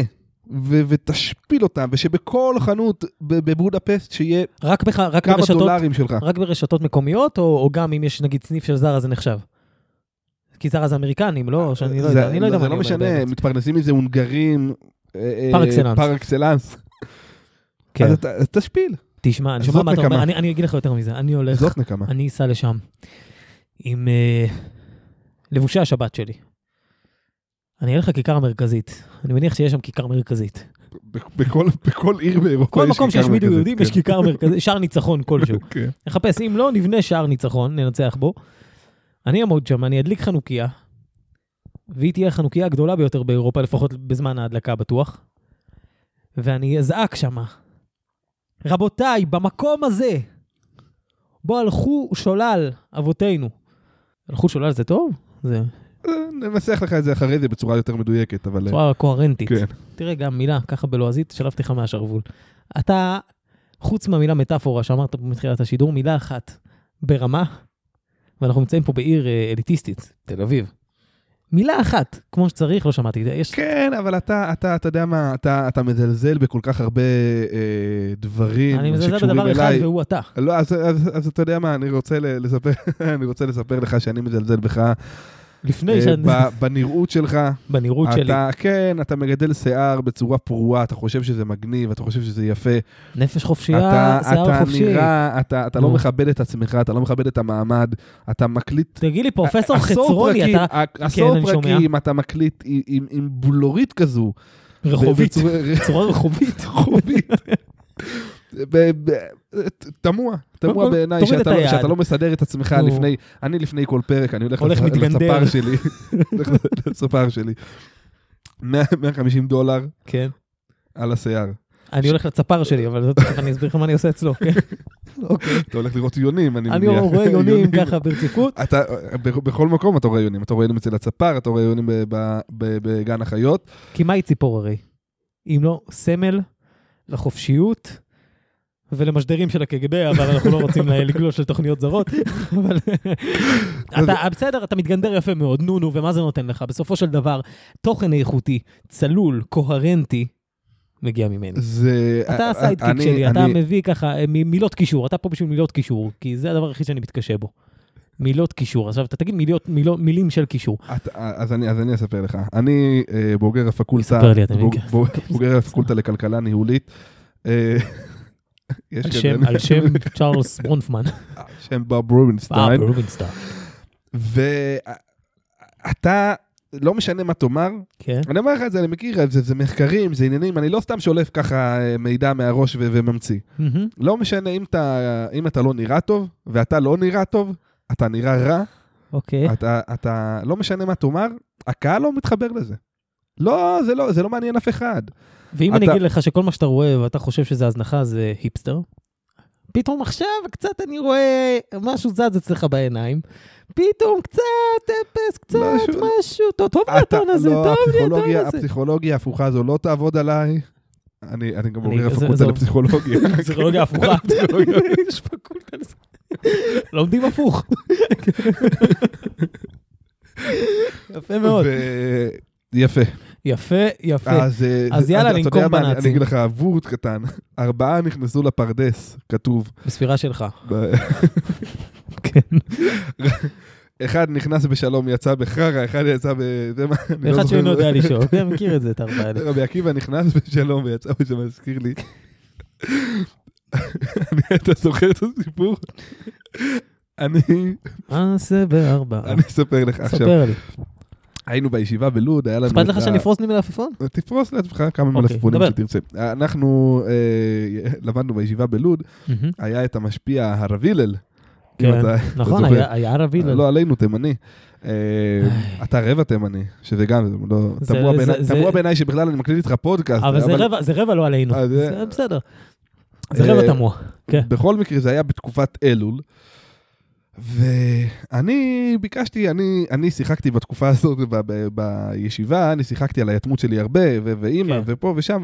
ו- ותשפיל אותם, ושבכל חנות ב- בבודפסט שיהיה
רק, בח, רק
כמה
ברשתות
דולרים שלך.
רק ברשתות מקומיות, או, או גם אם יש נגיד סניף של זרה זה נחשב? כי זרה זה אמריקנים, לא? שאני לא יודע, אני לא יודע מה
אה, זה
אני
לא
אומר
משנה,
באמת.
מתפרנסים מזה הונגרים. אה,
פר
אה,
אקסלנס.
פר אקסלנס.
כן.
אז אתה- אז תשפיל,
תשמע, אני
זאת
שומע מה אתה אומר,
נקמה.
אני- אני אגיד לך יותר מזה, אני הולך,
זאת נקמה.
אני אסע לשם עם אה, לבושי השבת שלי. אני אלך לכיכר המרכזית, אני מניח שיש שם כיכר מרכזית.
ב- בכל- בכל עיר באירופה
כל
יש
מקום
כיכר
שהשמידו
מרכזית,
יהודים יש
כן.
כיכר מרכזית, שער ניצחון כלשהו.
כן.
נחפש, אם לא, נבנה שער ניצחון, ננצח בו. אני אעמוד שם, אני אדליק חנוכיה, והיא תהיה החנוכיה הגדולה ביותר באירופה, לפחות בזמן ההדלקה בטוח, ואני אזעק שמה. רבותיי, במקום הזה, בו הלכו שולל אבותינו. הלכו שולל זה טוב? זה
אה, ננסח לך את זה אחרי זה בצורה יותר מדויקת, אבל... אה,
בצורה קוהרנטית.
כן.
תראה, גם מילה, ככה בלועזית, שלפתי לך מהשרוול. אתה, חוץ מהמילה מטאפורה שאמרת פה מתחילת השידור, מילה אחת ברמה, ואנחנו נמצאים פה בעיר אה, אליטיסטית, תל אביב. מילה אחת, כמו שצריך, לא שמעתי. יש...
כן, אבל אתה, אתה, אתה יודע מה, אתה, אתה מזלזל בכל כך הרבה אה, דברים
אני מזלזל
שקשורים
בדבר אחד
אליי.
והוא אתה.
לא, אז, אז, אז אתה יודע מה, אני רוצה, ל- לספר, אני רוצה לספר לך שאני מזלזל בך, אה,
לפני שאני...
ב- בנראות שלך.
בנראות שלי.
אתה, כן, אתה מגדל שיער בצורה פרועה, אתה חושב שזה מגניב, אתה חושב שזה יפה.
נפש חופשייה,
אתה,
שיער
אתה
חופשי.
נראה, אתה, אתה
נו.
לא מכבד את עצמך, אתה לא מכבד את המעמד, אתה מקליט...
תגיד לי, פרופסור
עשור
חצרוני,
פרקים,
אתה כן,
ע- עשור
אני שומע.
פרקים, אתה מקליט עם- עם- עם בלורית כזו.
רחובית.
בצורה-
צורה רחובית.
חובית. ב- ב- ת- תמוה,
קודם
תמוה
כל,
בעיניי
תוריד
שאתה
את
לא-
היד.
שאתה לא מסדר את עצמך
נו.
לפני, אני לפני כל פרק, אני הולך
הולך
לצפ-
מתגנדר.
לצפר שלי, הולך לצפר שלי. 100 150 דולר,
כן.
על השיער.
אני הולך לצפר שלי, אבל זאת תכף אני אסביר לך מה אני עושה אצלו. כן? אוקיי.
אתה הולך לראות יונים, אני
אני
מניח.
רואה יונים ככה ברציפות.
אתה, ב- בכל מקום אתה רואה יונים, אתה רואה יונים אצל הצפר, אתה רואה יונים ב- ב- ב- בגן החיות.
כי מהי ציפור הרי? אם לא סמל לחופשיות ולמשדרים של הקג"ב, אבל אנחנו לא רוצים לגלוש לתוכניות זרות. אבל אתה, בסדר, אתה מתגנדר יפה מאוד, נו נו, ומה זה נותן לך? בסופו של דבר, תוכן איכותי, צלול, קוהרנטי, מגיע ממני.
זה... אה,
אתה הסיידקיק
אני-
שלי, אתה
אני-
מביא ככה אה, מ- מילות קישור, אתה פה בשביל מילות קישור, כי זה הדבר היחיד שאני מתקשה בו. מילות קישור. עכשיו, אתה תגיד מילות, מילות, מילים של קישור.
את- אז אני אז אני אספר לך. אני אה, בוגר הפקולטה...
ספר לי, אתה
בוג-
מכיר.
בוג- בוגר הפקולטה לכלכלה ניהולית. אה, יש
על
כזה,
שם,
אני-
על שם צ'ארלס ברונפמן.
על שם בוב רובינשטיין.
אה, ברובינשטיין.
ואתה, לא משנה מה תאמר,
כן.
אני אומר לך את זה, אני מכיר, זה, זה מחקרים, זה עניינים, אני לא סתם שולף ככה אה, מידע מהראש ו- וממציא.
מהמם.
לא משנה אם אתה, אם אתה לא נראה טוב, ואתה לא נראה טוב, אתה נראה רע,
אוקיי.
אתה, אתה, לא משנה מה תאמר, הקהל לא מתחבר לזה. לא, זה לא, זה לא מעניין אף אחד.
ואם
אתה-
אני אגיד לך שכל מה שאתה רואה ואתה חושב שזה הזנחה זה היפסטר, פתאום עכשיו קצת אני רואה משהו זז אצלך בעיניים, פתאום קצת אפס, קצת
משהו-
משהו, טוב, טוב לי הטון הזה,
לא,
טוב לי הטון
הפסיכולוגיה,
הזה.
הפסיכולוגיה ההפוכה הזו לא תעבוד עליי. אני, אני גם
אני-
אומר
זה-
הפקולטה
זו-
לפסיכולוגיה.
פסיכולוגיה הפוכה.
הפסיכולוגיה.
יש פקולטה לזה. לומדים הפוך. יפה מאוד.
ו- יפה.
יפה, יפה.
אז, אה,
אז יאללה,
אתה יודע
לנקום
מה, אני- אני
בנאצים.
אגיד לך וורט קטן, ארבעה נכנסו לפרדס, כתוב.
בספירה שלך.
ב-
כן.
אחד נכנס בשלום, יצא בחרא, אחד יצא ב... זה מה, אני לא
אחד
זוכר.
שאינו יודע לשאול. כן, מכיר את זה, את הארבעה האלה.
רבי עקיבא נכנס בשלום ויצא, אוי, זה מזכיר לי. אני- אתה זוכר את הסיפור? אני,
אה, זה בארבעה.
אני אספר לך עכשיו,
ספר לי.
היינו בישיבה בלוד, היה לנו...
אכפת
את
לך
ה-
שאני אפרוס לי מלעפפון?
תפרוס לעצמך כמה
אוקיי,
מלפפונים
דבר.
שתרצה. אנחנו אה, למדנו בישיבה בלוד, היה את המשפיע הרב הלל. אם
כן.
אתה-
נכון,
זוכר.
היה- היה ערבי. לא-
לא עלינו, תימני. אה, אתה רבע תימני, שזה גם, לא-
זה-
תמוה
זה-
בעיני-
זה-
תמוה בעיניי שבכלל אני מקליט איתך פודקאסט.
אבל זה רבע- זה רבע לא עלינו.
אה, זה-
זה בסדר. זה
אה,
רבע תמוה. כן.
בכל מקרה, זה היה בתקופת אלול. ואני ביקשתי, אני, אני שיחקתי בתקופה הזאת ב, ב, בישיבה, אני שיחקתי על היתמות שלי הרבה, ו, ואימא,
כן.
ופה ושם,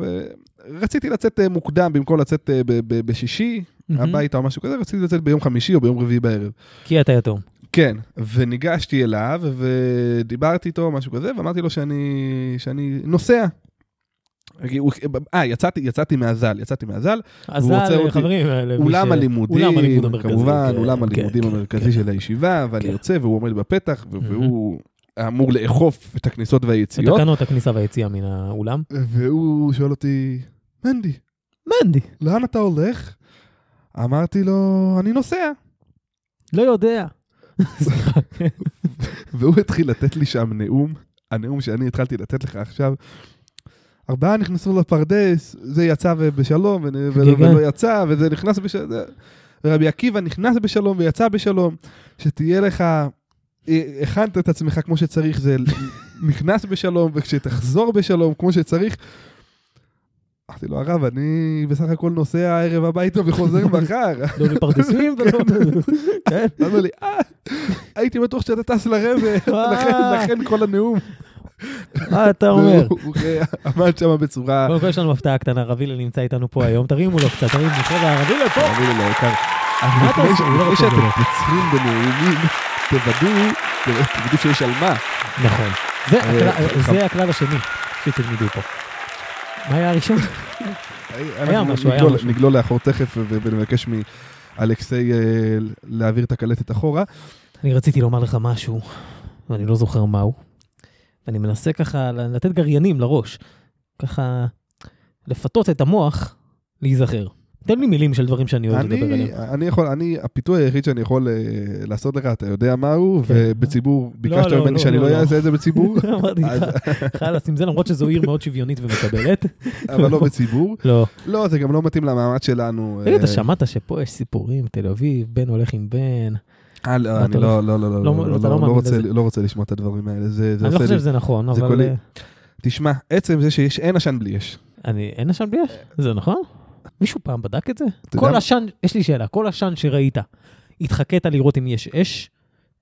רציתי לצאת אה, מוקדם במקום לצאת אה, ב, ב, בשישי
מהמם.
הביתה או משהו כזה, רציתי לצאת ביום חמישי או ביום רביעי בערב.
כי אתה יתום.
כן, וניגשתי אליו ודיברתי איתו, משהו כזה, ואמרתי לו שאני, שאני נוסע. הוא- אה, יצאתי, יצאתי מהזל, יצאתי מהזל,
אז אה,
והוא רוצה
זה
אותי.
החברים האלה. מי
אולם
ש- אולם הלימוד
הלימודים,
המרכזי,
כמובן,
כן,
אולם
כן,
הלימודים
כן,
המרכזי
כן.
של הישיבה, ואני
כן.
יוצא והוא עומד בפתח, ו- והוא אמור לאכוף את הכניסות והיציאות,
בתקנות הכניסה והיציאה מן האולם.
והוא שואל אותי, מנדי,
מנדי,
לאן אתה הולך? אמרתי לו, אני נוסע.
לא יודע. סליחה.
והוא התחיל לתת לי שם נאום, הנאום שאני התחלתי לתת לך עכשיו. ארבעה נכנסו לפרדס, זה יצא ו- בשלום, ו- ו-
כן, כן.
ולא יצא, וזה נכנס בשלום. ורבי עקיבא נכנס בשלום ויצא בשלום. שתהיה לך, אה, הכנת את עצמך כמו שצריך, זה נכנס בשלום, וכשתחזור בשלום כמו שצריך. אמרתי לו, הרב, אני בסך הכל נוסע הערב הביתה וחוזר מחר.
לא מפרדסים ולא... כן.
הוא אומר לי, אה, הייתי בטוח שאתה טס לרבע,
אה.
לכן- לכן כל הנאום.
מה אתה אומר?
והוא- הוא אה, עמד שם בצורה...
קודם כל יש לנו הפתעה קטנה, רבי אלה נמצא איתנו פה היום. תרימו לו קצת, תרימו. חבר'ה, רבי אלה פה.
תאמין לי, לא, יקר. אז
מה אתה
לפני
עושה?
ש-
הוא לא
לפני
רוצה
שאתם
לדבר.
פוצרים בנאומים, תוודאו, תוודאו שיש על מה.
נכון. זה
אה,
הכלל-
חם-
זה הכלל השני שתלמדו פה. מה היה הראשון?
אנחנו
משהו, היה
נגלול-
משהו.
נגלול לאחור תכף ו- ונבקש מאלכסיי אה, להעביר את הקלטת אחורה.
אני רציתי לומר לך משהו, ואני לא זוכר מהו. ואני מנסה ככה ל- לתת גריינים לראש. ככה לפתות את המוח להיזכר. תן לי מילים של דברים שאני אוהב לדבר עליהם.
אני אני יכול, אני, הפיתוי היחיד שאני יכול אה, לעשות לך, אתה יודע מה הוא,
כן.
ובציבור, ביקשת
לא,
ממני
לא,
שאני
לא,
לא
לא.
אעשה את זה בציבור,
אמרתי
אז-
לך, חלאס עם זה, למרות שזו עיר מאוד שוויונית ומקבלת.
אבל לא בציבור.
לא.
לא, זה גם לא מתאים למעמד שלנו.
תגיד, אתה
אה,
שמעת שפה יש סיפורים, תל אביב, בן הולך עם בן.
אה, לא,
מה,
אני
אתה
לא, לא, לא, לא,
לא,
לא, לא,
אתה לא
לא
מאמין
רוצה-
לזה.
לא רוצה לשמוע את הדברים האלה, זה זה
אני לא
עושה
חושב
לי,
שזה נכון,
זה
אבל...
קולי.
אה,
תשמע, עצם זה שיש, אין עשן בלי אש.
אני, אין עשן בלי עשן, זה נכון? מישהו פעם בדק את זה?
אתה יודע
כל
מה?
עשן, יש לי שאלה, כל עשן שראית, התחקית לראות אם יש אש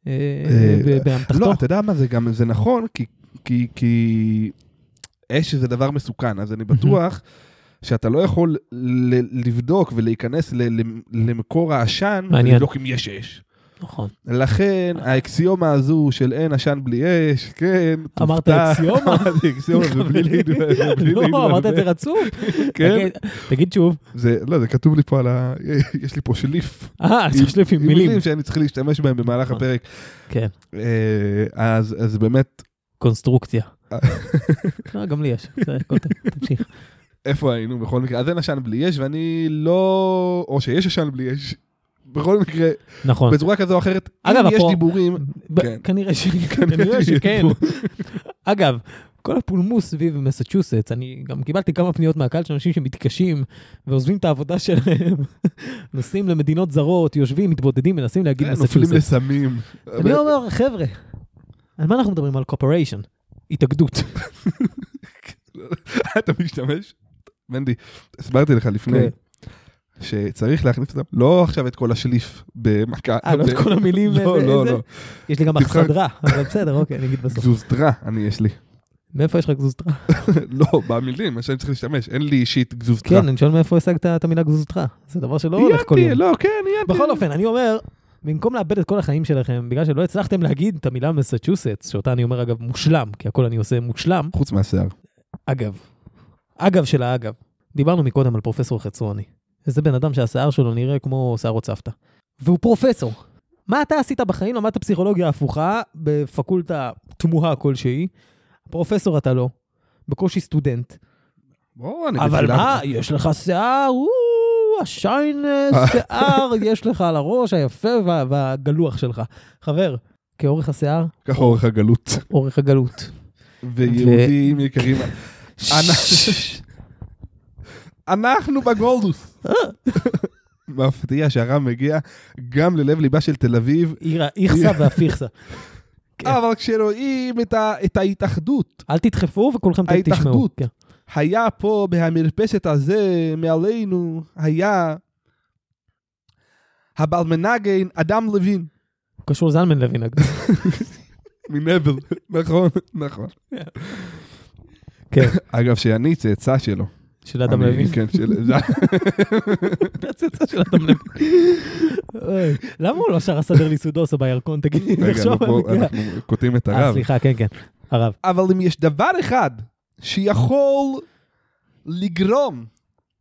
אה,
אה,
ב- באמתחתו?
לא, אתה יודע מה, זה גם, זה נכון, כי, כי, כי אש זה דבר מסוכן, אז אני בטוח שאתה לא יכול ל- לבדוק ולהיכנס ל- ל- למקור העשן,
מעניין.
ולבדוק אם יש אש.
נכון.
לכן האקסיומה הזו של אין עשן בלי אש, כן, תופתע.
אמרת אקסיומה?
אמרתי אקסיומה, ובלי להתבלבל.
לא, אמרת את זה רצוף.
כן,
תגיד- תגיד שוב.
זה, לא, זה כתוב לי פה על ה... יש לי פה שליף.
אה, אז יש לי
עם
מילים.
שאני צריך להשתמש בהם במהלך
נכון.
הפרק.
כן,
אה, אז אז באמת,
קונסטרוקציה. לא, גם לי יש. זה הכל טוב, תמשיך.
איפה היינו בכל מקרה? אז אין עשן בלי אש, ואני לא... או שיש עשן בלי אש. בכל מקרה,
נכון.
בצורה כזו או אחרת,
אגב,
אם יש
הפרו-
דיבורים...
ב-
כן.
כנראה ש-
כנראה
כנראה שכן.
שכן.
אגב, כל הפולמוס סביב מסצ'וסטס, אני גם קיבלתי כמה פניות מהקהל של אנשים שמתקשים ועוזבים את העבודה שלהם, נוסעים למדינות זרות, יושבים, מתבודדים, מנסים להגיד
אה, נופלים
מסצ'וסטס.
לסמים.
אני לא- אומר, חבר'ה, על מה אנחנו מדברים? על קופריישן. התאגדות.
אתה משתמש? מנדי, הסברתי לך לפני
כן.
שצריך להכניס אותם, לא עכשיו את כל השליף במכה.
אה, לא את כל המילים.
לא,
אה,
לא,
זה?
לא.
יש לי גם
תבחר-
אכסדרה, אבל בסדר, אוקיי, אני אגיד בסוף.
גזוזתרה אני יש לי.
מאיפה יש לך גזוזתרה?
לא, במילים, מה שאני צריך להשתמש. אין לי אישית גזוזתרה.
כן, אני שואל מאיפה השגת את המילה גזוזתך. זה דבר שלא הולך כל
עיינתי,
יום.
לא, כן, עיינתי.
בכל אופן, אני אומר, במקום לאבד את כל החיים שלכם, בגלל שלא הצלחתם להגיד את המילה מסצ'וסטס, שאותה אני אומר אגב מושלם, כי הכל אני עושה מושלם,
חוץ מהשיער.
אגב, אגב של האגב, דיברנו מקודם על פרופסור חצרוני. איזה בן אדם שהשיער שלו נראה כמו שערות סבתא. והוא פרופסור. מה אתה עשית בחיים? למדת פסיכולוגיה הפוכה בפקולטה תמוהה כלשהי. פרופסור אתה לא. בקושי סטודנט.
בוא, אני
אבל
בתפילה.
מה, יש לך שיער, וואו, השיין אה, שיער יש לך על הראש היפה וה- והגלוח שלך. חבר, כאורך השיער,
ככה אורך הגלות.
אורך הגלות.
ויהודים יקרים, אנחנו בגולדוס. מפתיע שהרם מגיע גם ללב ליבה של תל אביב,
עיר האיכסה והפיכסה. כן.
אבל כשרואים את ה- את ההתאחדות,
אל תדחפו וכולכם ת- תשמעו.
ההתאחדות.
כן.
היה פה בהמרפסת הזה מעלינו, היה הבעל מנגן אדם לוין.
הוא קשור לזלמן לוין, אגב.
מנבל, נכון, נכון.
כן,
אגב, שאני צאצא שלו.
של אדם
אני-
לוין.
כן, של... זה-
אתה הצאצא של אדם לוין. אוי, למה הוא לא שר הסדר לי סודוסו בירקון, תגיד לי,
רגע,
תחשוב
נו, בוא,
על זה.
אנחנו קוטעים את
אה,
הרב.
סליחה, כן, כן, הרב.
אבל אם יש דבר אחד שיכול לגרום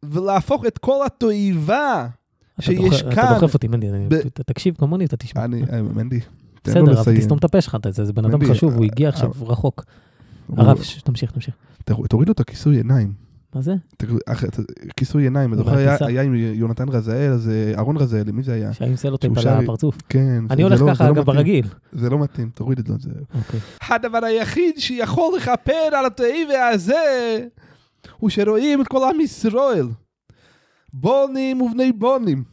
ולהפוך את כל התועבה,
אתה
שיש
דוחף- אתה
כאן-
דוחף אותי, מנדי, אני-
ב-
אתה תקשיב כמוני, אתה תשמע.
אני, אה, מנדי, תן לו
בסדר, אבל
לסיים.
תסתום את הפה שלך, אתה- זה זה בן אדם
מנדי,
חשוב, הוא
אה,
הגיע עכשיו רחוק. הרב, ש- תמשיך, תמשיך.
תראו- תורידו את הכיסוי עיניים.
מה זה?
ת- אח- ת- כיסוי עיניים, אתה זוכר, היה-
בטיסה.
היה עם יונתן רזאל, אז אה, אהרון רזאל, מי זה היה?
שהיה עם סלוטייפ
שהוא
על
שר-
הפרצוף.
כן. זה-
אני
זה
הולך
לא- זה
ככה,
לא
אגב,
מתאים.
ברגיל.
זה לא מתאים, תוריד את זה, זה.
אוקיי.
הדבר היחיד שיכול לכפר על התועבה הזה, הוא שרואים את כל עם ישראל. בונים ובני בונים.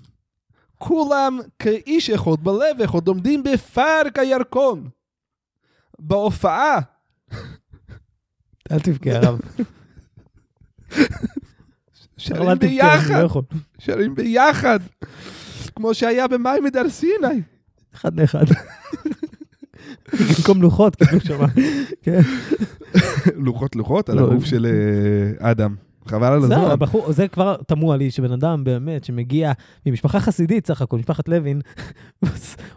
כולם כאיש אחד בלב אחד עומדים בפארק הירקון. בהופעה.
אל תבכה, הרב. הרב, אל תבכה,
שרים
אני
ביחד,
לא יכול.
שרים ביחד. כמו שהיה במים מדר סיני.
אחד לאחד. במקום לוחות, כאילו שמה. כן.
לוחות לוחות על
לא.
הגוף של אה, אדם. חבל על
זהו,
הזמן.
הבחור- זה כבר תמוה לי שבן אדם באמת שמגיע ממשפחה חסידית סך הכל, משפחת לוין, עושה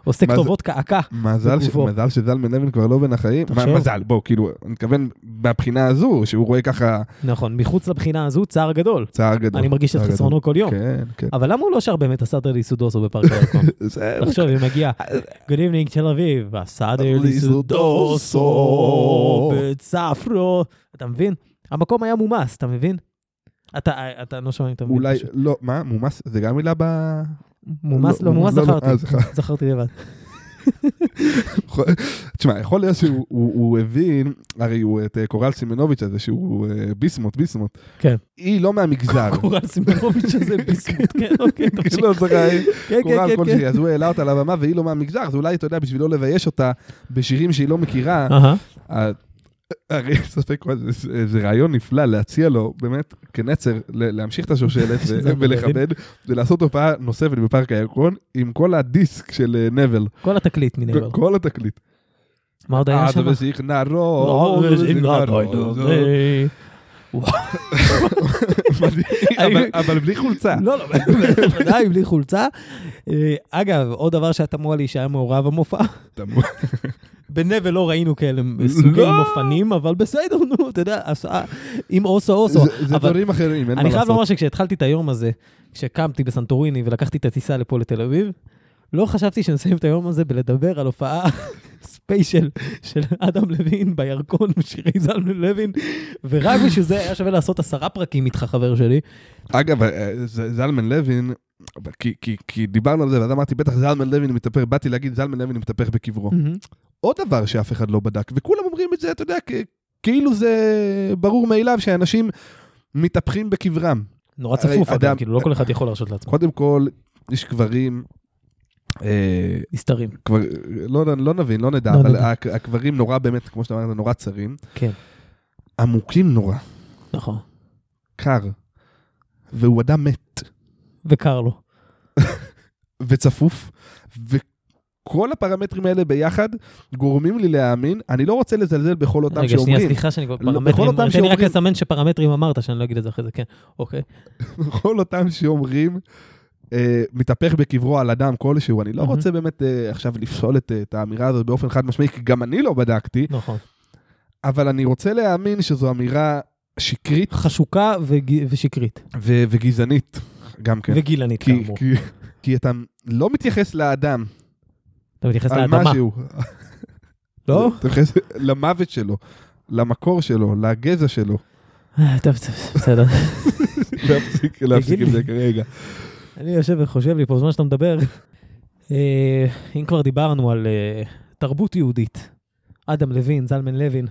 מה זה-
כתובות קעקע.
מזל, ש...
בגופו.
מזל שזלמן לוין כבר לא בין החיים. מה,
תחשוב.
מזל, בוא, כאילו, אני מתכוון מהבחינה הזו, שהוא רואה ככה
נכון, מחוץ לבחינה הזו צער גדול.
צער גדול.
אני מרגיש את
צער
חסרונו כל יום.
גדול. כן, כן.
אבל למה הוא לא שר באמת הסאדר ליסודוסו בפארק הירקון?
זה-
תחשוב, אם מגיע, Good evening תל אביב, הסאדר ליסודוסו בצפרו. אתה מבין? המקום היה מומס, אתה מבין? אתה, אתה לא שומע אם אתה מבין.
אולי,
פשוט.
לא, מה, מומס? זה גם מילה ב...
מומס, לא, מומס זכרתי.
אה, זכר-
זכרתי לבד.
יכול- תשמע, יכול להיות שהוא הוא- הוא הבין, הרי הוא את אה, קורל סימנוביץ' הזה, שהוא אה, ביסמוט, ביסמוט.
כן.
היא לא מהמגזר.
קורל סימנוביץ' הזה ביסקוט, כן, אוקיי, תמשיך.
לא, זכר, אה,
כן, כן,
קורל
כן, כן.
כלשהי, אז הוא העלה אותה לבמה והיא לא מהמגזר, אז אולי, אתה יודע, בשביל לא לבייש אותה בשירים שהיא לא מכירה,
אהה,
אה, הרי אין ספק, מה זה- זה זה רעיון נפלא להציע לו, באמת, כנצר, ל- להמשיך את השושלת ו-
שזה
ולכבד, ולעשות הופעה נוספת בפארק הירקון, עם כל הדיסק של אה, נבל,
כל התקליט מנבר.
כל התקליט.
מה עוד היה
עד
שם?
וזיך נערו,
לא,
עד וזיך
אם לא, לא,
נערו,
לא,
זה-
זה-
מדהים, אבל- אבל בלי חולצה.
לא, לא, בוודאי, בלי חולצה. אה, אגב, עוד דבר שאתה אמר לי שהיה מעורב המופע,
תמוה.
בנבל לא ראינו כאלה סוגי
לא.
מופנים, אבל בסדר, נו, אתה יודע, עשה- עם אוסו אוסו.
זה- זה
לא, אבל-
דברים אחרים, אין מה
אני חייב לומר
לעשות.
שכשהתחלתי את היום הזה, כשקמתי בסנטוריני ולקחתי את הטיסה לפה לתל אביב, לא חשבתי שנסיים את היום הזה בלדבר על הופעה ספיישל של אדם לוין בירקון ושירי זלמן לוין, ורק בשביל זה היה שווה לעשות עשרה פרקים איתך, חבר שלי.
אגב, אה, ז- זלמן לוין, כי- כי- כי דיברנו על זה, ואז אמרתי, בטח זלמן לוין מתהפך, באתי להגיד זלמן לוין מתהפך בקברו. עוד דבר שאף אחד לא בדק, וכולם אומרים את זה, אתה יודע, כ- כאילו זה ברור מאליו שאנשים מתהפכים בקברם.
נורא
הרי
צפוף, אדם,
אדם-
כאילו, לא כל אחד יכול להרשות לעצמו.
קודם כל, יש קברים, אה,
נסתרים,
כבר, לא, לא נבין, לא נדע,
לא
אבל
נדע.
הק- הקברים נורא באמת, כמו שאתה אמרת, נורא צרים,
כן,
עמוקים נורא,
נכון.
קר, והוא אדם מת,
וקר לו.
וצפוף, וכל הפרמטרים האלה ביחד גורמים לי להאמין, אני לא רוצה לזלזל בכל אותם
רגע,
שאומרים,
שנייה, סליחה שאני כבר
לא, בכל
פרמטרים,
אותם
תן לי רק
שאומרים-
לסמן שפרמטרים אמרת, שאני לא אגיד את זה אחרי זה, כן. אוקיי.
כל אותם שאומרים, אה, מתהפך בקברו על אדם כלשהו, אני לא
מהמם.
רוצה באמת אה, עכשיו לפסול את, אה, את האמירה הזאת באופן חד משמעי, כי גם אני לא בדקתי,
נכון.
אבל אני רוצה להאמין שזו אמירה שקרית
חשוקה וג- ושקרית.
ו- וגזענית, גם כן.
וגילנית,
כי,
כאמור.
כי, כי אתה לא מתייחס לאדם,
אתה מתייחס
על
לאדמה,
משהו.
לא?
אתה מתייחס למוות שלו, למקור שלו, לגזע שלו.
אה, טוב, טוב, בסדר.
להפסיק להפסיק עם
לי.
זה כרגע.
אני יושב וחושב לי פה בזמן שאתה מדבר. אה, אם כבר דיברנו על אה, תרבות יהודית, אדם לוין, זלמן לוין,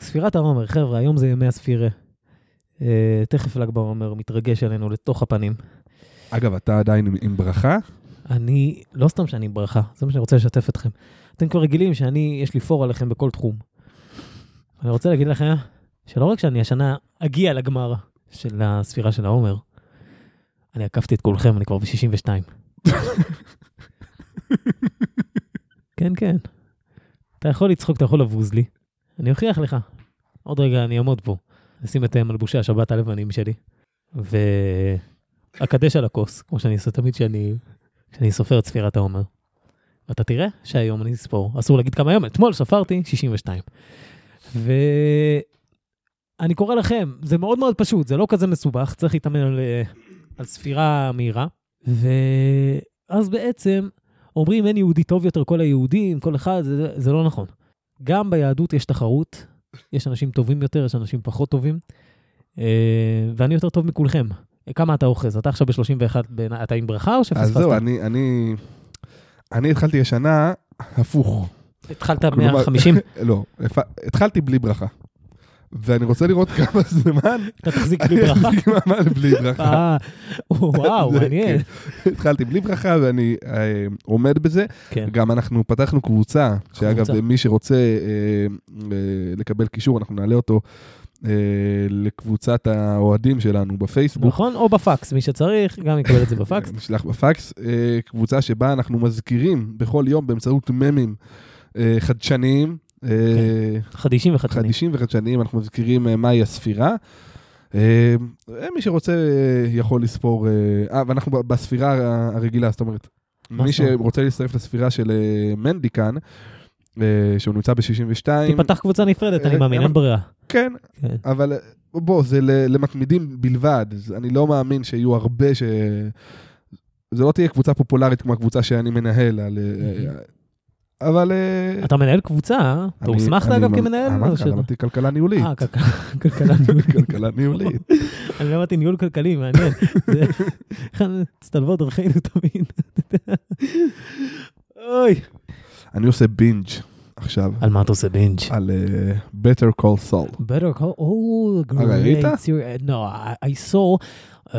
ספירת העומר, חבר'ה, היום זה ימי הספירה. אה, תכף ל"ג בעומר מתרגש עלינו לתוך הפנים.
אגב, אתה עדיין עם- עם ברכה?
אני, לא סתם שאני עם ברכה, זה מה שאני רוצה לשתף אתכם. אתם כבר רגילים שאני, יש לי פור עליכם בכל תחום. אני רוצה להגיד לכם שלא רק שאני השנה אגיע לגמר של הספירה של העומר, אני עקפתי את כולכם, אני כבר ב-62. כן, כן. אתה יכול לצחוק, אתה יכול לבוז לי. אני אוכיח לך. עוד רגע אני אעמוד פה, אשים את אה, מלבושי השבת הלבנים שלי, ואקדש על הכוס, כמו שאני עושה תמיד כשאני כשאני סופר את ספירת העומר. ואתה תראה שהיום אני אספור, אסור להגיד כמה יום, אתמול ספרתי 62. ואני קורא לכם, זה מאוד מאוד פשוט, זה לא כזה מסובך, צריך להתאמן על, אה, על ספירה מהירה. ואז בעצם אומרים אין יהודי טוב יותר, כל היהודים, כל אחד, זה, זה לא נכון. גם ביהדות יש תחרות, יש אנשים טובים יותר, יש אנשים פחות טובים, אה, ואני יותר טוב מכולכם. כמה אתה אוחז? אתה עכשיו ב-31, אתה עם ברכה או שפספסת?
אז זהו, אני- אני... אני התחלתי השנה הפוך.
התחלת
כלומר-
150,
לא, הפ- התחלתי בלי ברכה. ואני רוצה לראות כמה זמן
אתה תחזיק
אני
בלי ברכה.
אחזיק מעמד בלי ברכה.
אה, וואו,
זה-
מעניין.
כן. התחלתי בלי ברכה ואני אה, עומד בזה.
כן,
גם אנחנו פתחנו קבוצה, שאגב,
קבוצה.
מי שרוצה אה, אה, לקבל קישור, אנחנו נעלה אותו אה, לקבוצת האוהדים שלנו בפייסבוק.
נכון? או בפקס, מי שצריך, גם יקבל את זה בפקס.
אה, נשלח בפקס. אה, קבוצה שבה אנחנו מזכירים בכל יום באמצעות ממים אה, חדשניים. אה,
כן. חדישים וחדשנים.
חדישים וחדשניים, אנחנו מזכירים אה, מהי הספירה. אה, מי שרוצה אה, יכול לספור, אה, אה, ואנחנו ב- בספירה ה- הרגילה, זאת אומרת,
מה
מי
זאת אומרת?
שרוצה להצטרף לספירה של אה, מנדי כאן, אה, שהוא נמצא ב-62,
תיפתח קבוצה נפרדת, אני
אה,
מאמין,
אה,
אין ברירה.
כן,
כן.
אבל אה, בוא, זה ל- למתמידים בלבד, אז אני לא מאמין שיהיו הרבה ש... זה לא תהיה קבוצה פופולרית כמו הקבוצה שאני מנהל, על, אה, אה, אבל... אה,
אתה מנהל קבוצה, אה? אתה
אני-
הוסמכת
אני
אגב
ממ-
כמנהל? או
אמרתי,
שאתה-
למדתי כלכלה ניהולית.
אה, כלכל- כלכלה ניהולית.
כלכלה ניהולית.
אני למדתי ניהול כלכלי, מעניין. זה- איך מצטלבות דרכינו תמיד. אוי.
אני עושה בינג' עכשיו
על מה אתה עושה בינג'?
על אה, Better Call Saul.
Better Call, oh,
אה, ראית?
great series. No, I, I saw, uh,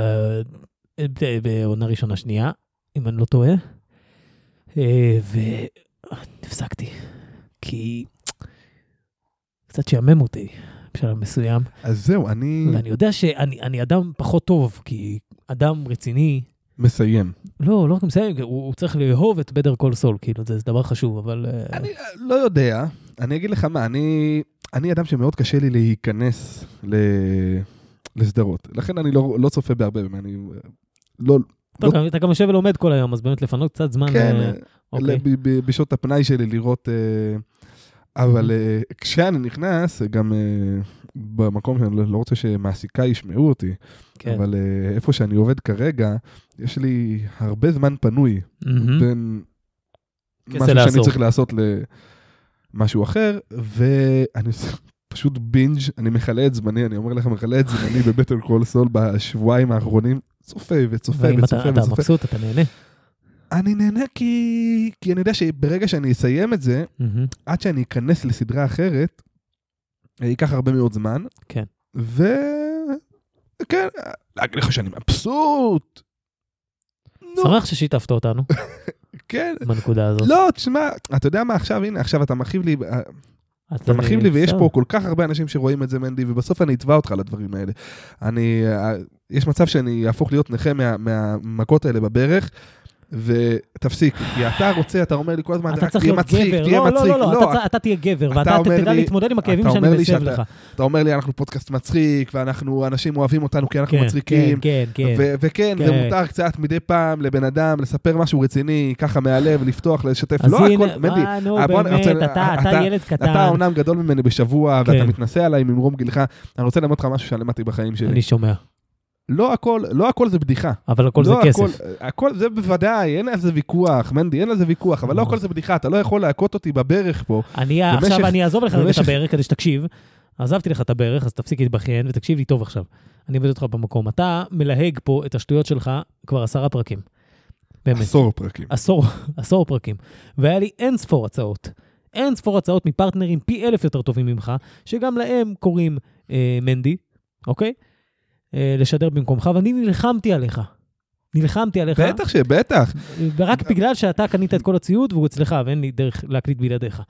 ב- בעונה ראשונה שנייה, אם אני לא טועה, אה, uh, והפסקתי, כי קצת שעמם אותי בשלב מסוים.
אז זהו, אני
ואני יודע שאני אני אדם פחות טוב, כי אדם רציני,
מסיים.
לא, לא רק מסיים, הוא, הוא צריך לאהוב את בדר כל סול, כאילו, זה, זה דבר חשוב, אבל... אה,
אני אה, לא יודע, אני אגיד לך מה, אני, אני אדם שמאוד קשה לי להיכנס ל, לסדרות, לכן אני לא, לא צופה בהרבה, אני לא,
טוב, אתה גם יושב ולומד כל היום, אז באמת לפנות קצת זמן.
כן,
אה,
אה,
אוקיי.
ב- ב- בשעות הפנאי שלי לראות, אה, אבל אה, כשאני נכנס, גם אה, במקום שאני לא- לא רוצה שמעסיקה ישמעו אותי,
כן.
אבל אה, איפה שאני עובד כרגע, יש לי הרבה זמן פנוי
מהמם.
בין
Mm-hmm. כסה
משהו שאני
לעשור.
צריך לעשות למשהו אחר, ואני עושה פשוט בינג', אני מכלה את זמני, אני אומר לך, מכלה את זמני בבטל קול סול בשבועיים האחרונים, צופה וצופה
ואם אתה
וצופה
אתה
וצופה.
מבסוט, אתה נהנה.
אני נהנה כי... כי אני יודע שברגע שאני אסיים את זה,
מהמם.
עד שאני אכנס לסדרה אחרת, אה, ייקח הרבה מאוד זמן.
כן.
ו... כן, אה, להגיד לך שאני מבסוט. נו,
שמח ששיתפת אותנו
כן.
בנקודה הזאת.
לא, תשמע, אתה יודע מה עכשיו, הנה, עכשיו אתה מכאיב לי, אה, אתה מכאיב לי ויש פה כל כך הרבה אנשים שרואים את זה, מנדי, ובסוף אני אתבע אותך על הדברים האלה. אני, אה, יש מצב שאני אהפוך להיות נכה מה- מהמכות האלה בברך. ותפסיק, כי אתה רוצה, אתה אומר לי כל הזמן,
אתה
רק
צריך
תהיה
להיות
מצחיק,
גבר,
תהיה
לא, לא,
מצחיק,
לא, לא, אתה צר- אתה תהיה גבר,
אתה
ואתה
אומר
תדע
לי-
להתמודד עם הכאבים
אתה
שאני
אומר לי
מסב
שאתה-
לך.
אתה אומר לי, אנחנו פודקאסט מצחיק, ואנחנו, אנשים אוהבים אותנו כי אנחנו
כן,
מצחיקים.
כן, כן, כן.
ו- וכן, זה
כן.
מותר קצת מדי פעם לבן אדם לספר משהו רציני, ככה מהלב, לפתוח, לשתף.
אז
לא
הנה,
הכל, מנדי,
אה, נו,
אה, בוא, אני
באמת,
רוצה-
אתה- אתה
אתה-
ילד
אתה
קטן.
אומנם גדול ממני בשבוע, ואתה
כן.
מתנשא עליי ממרום גילך, אני רוצה ללמד אותך משהו שלמדתי בחיים שלי.
אני שומע,
לא הכל, לא הכל זה בדיחה.
אבל הכל זה
לא
כסף.
הכל- הכל זה בוודאי, אין על זה ויכוח, מנדי, אין על זה ויכוח, אבל לא
נכון.
הכל זה בדיחה, אתה לא יכול להכות אותי בברך פה.
אני
במשך-
עכשיו, אני אעזוב לך רגע את
במשך-
הברך כדי שתקשיב. עזבתי לך את הברך, אז תפסיק להתבכיין ותקשיב לי טוב עכשיו. אני אבד אותך במקום. אתה מלהג פה את השטויות שלך כבר עשרה פרקים. באמת.
עשור פרקים.
עשור, עשור פרקים, והיה לי אין ספור הצעות. אין ספור הצעות מפרטנרים פי אלף יותר טובים ממך, שגם להם קוראים אה, מנדי, אוקיי? אה, לשדר במקומך, ואני נלחמתי עליך. נלחמתי עליך,
בטח שבטח.
ורק
אוקיי.
בגלל שאתה קנית את כל הציוד והוא אצלך, ואין לי דרך להקליט בלעדיך,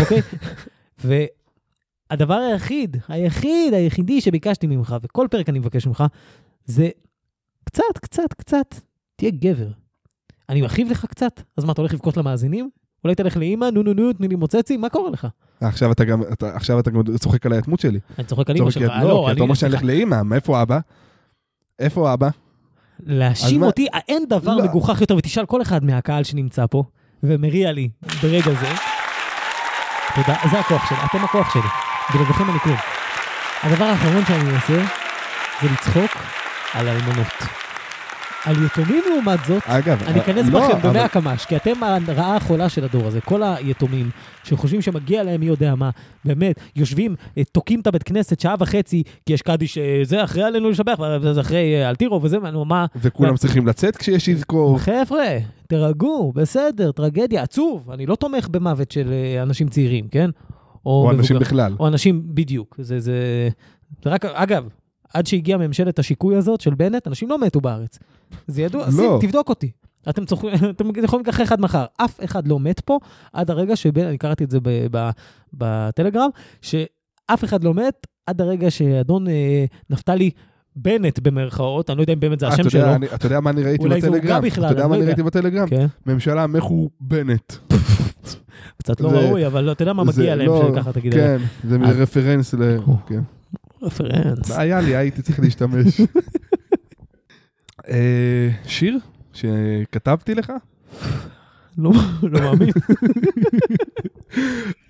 אוקיי? והדבר היחיד, היחיד, היחידי שביקשתי ממך, וכל פרק אני מבקש ממך, זה קצת, קצת, קצת, תהיה גבר. אני מכאיב לך קצת? אז מה, אתה הולך לבכות למאזינים? אולי תלך לאימא, נו נו נו, תני לי מוצצי, מה קורה לך?
עכשיו אתה גם, אתה- עכשיו אתה גם צוחק עליי הדמות שלי.
אני צוחק על אימא
צוחק,
שלך. אה,
לא, כי אתה אומר שאני הולך לאימא, מאיפה אבא? איפה אבא? אז
להאשים
מה-
אותי, אין דבר
לא.
מגוחך יותר, ותשאל כל אחד מהקהל שנמצא פה, ומריע לי ברגע זה. תודה, זה הכוח שלי, אתם הכוח שלי. בלעדיכם אני כלום. הדבר האחרון שאני אעשה, זה לצחוק על אלמנות. על יתומים לעומת זאת,
אגב,
אני אכנס
לא,
בכם במאה
אבל-
קמ"ש, כי אתם הרעה החולה של הדור הזה. כל היתומים שחושבים שמגיע להם מי יודע מה, באמת, יושבים, אה, תוקעים את הבית כנסת שעה וחצי, כי יש קדיש, אה, זה אחרי עלינו לשבח, וזה אחרי אה, אלטירו וזה, נו, מה?
וכולם צריכים לצאת כשיש אזכור.
חבר'ה, תירגעו, בסדר, טרגדיה, עצוב. אני לא תומך במוות של אה, אנשים צעירים, כן?
או אנשים
מבוגרים.
בכלל.
או אנשים, בדיוק. זה, זה, זה רק, אגב, עד שהגיעה ממשלת השיקוי הזאת של בנט, אנשים לא מתו בארץ. זה ידוע,
לא.
שים, תבדוק אותי. אתם, צוח... אתם יכולים לקחת אחד מחר, אף אחד לא מת פה עד הרגע שבנט, אני קראתי את זה ב... ב... בטלגרם, שאף אחד לא מת עד הרגע שאדון אה, נפתלי בנט במרכאות, אני לא יודע אם באמת זה
אה,
השם
אתה יודע,
שלו,
אני- אתה יודע מה אני ראיתי
אולי זה עוגה
בטלגרם?
בכלל,
אתה יודע
אני
מה
לא
אני
יודע.
ראיתי בטלגרם?
כן,
ממשלה מחורבנת.
קצת לא
זה-
ראוי, אבל אתה יודע מה
זה
מגיע להם
לא-
שככה תגיד עליהם.
כן, זה מין
אז-
רפרנס ל...
או.
כן.
רפרנס.
היה לי, הייתי צריך להשתמש. אה, שיר שכתבתי לך?
לא לא מאמין.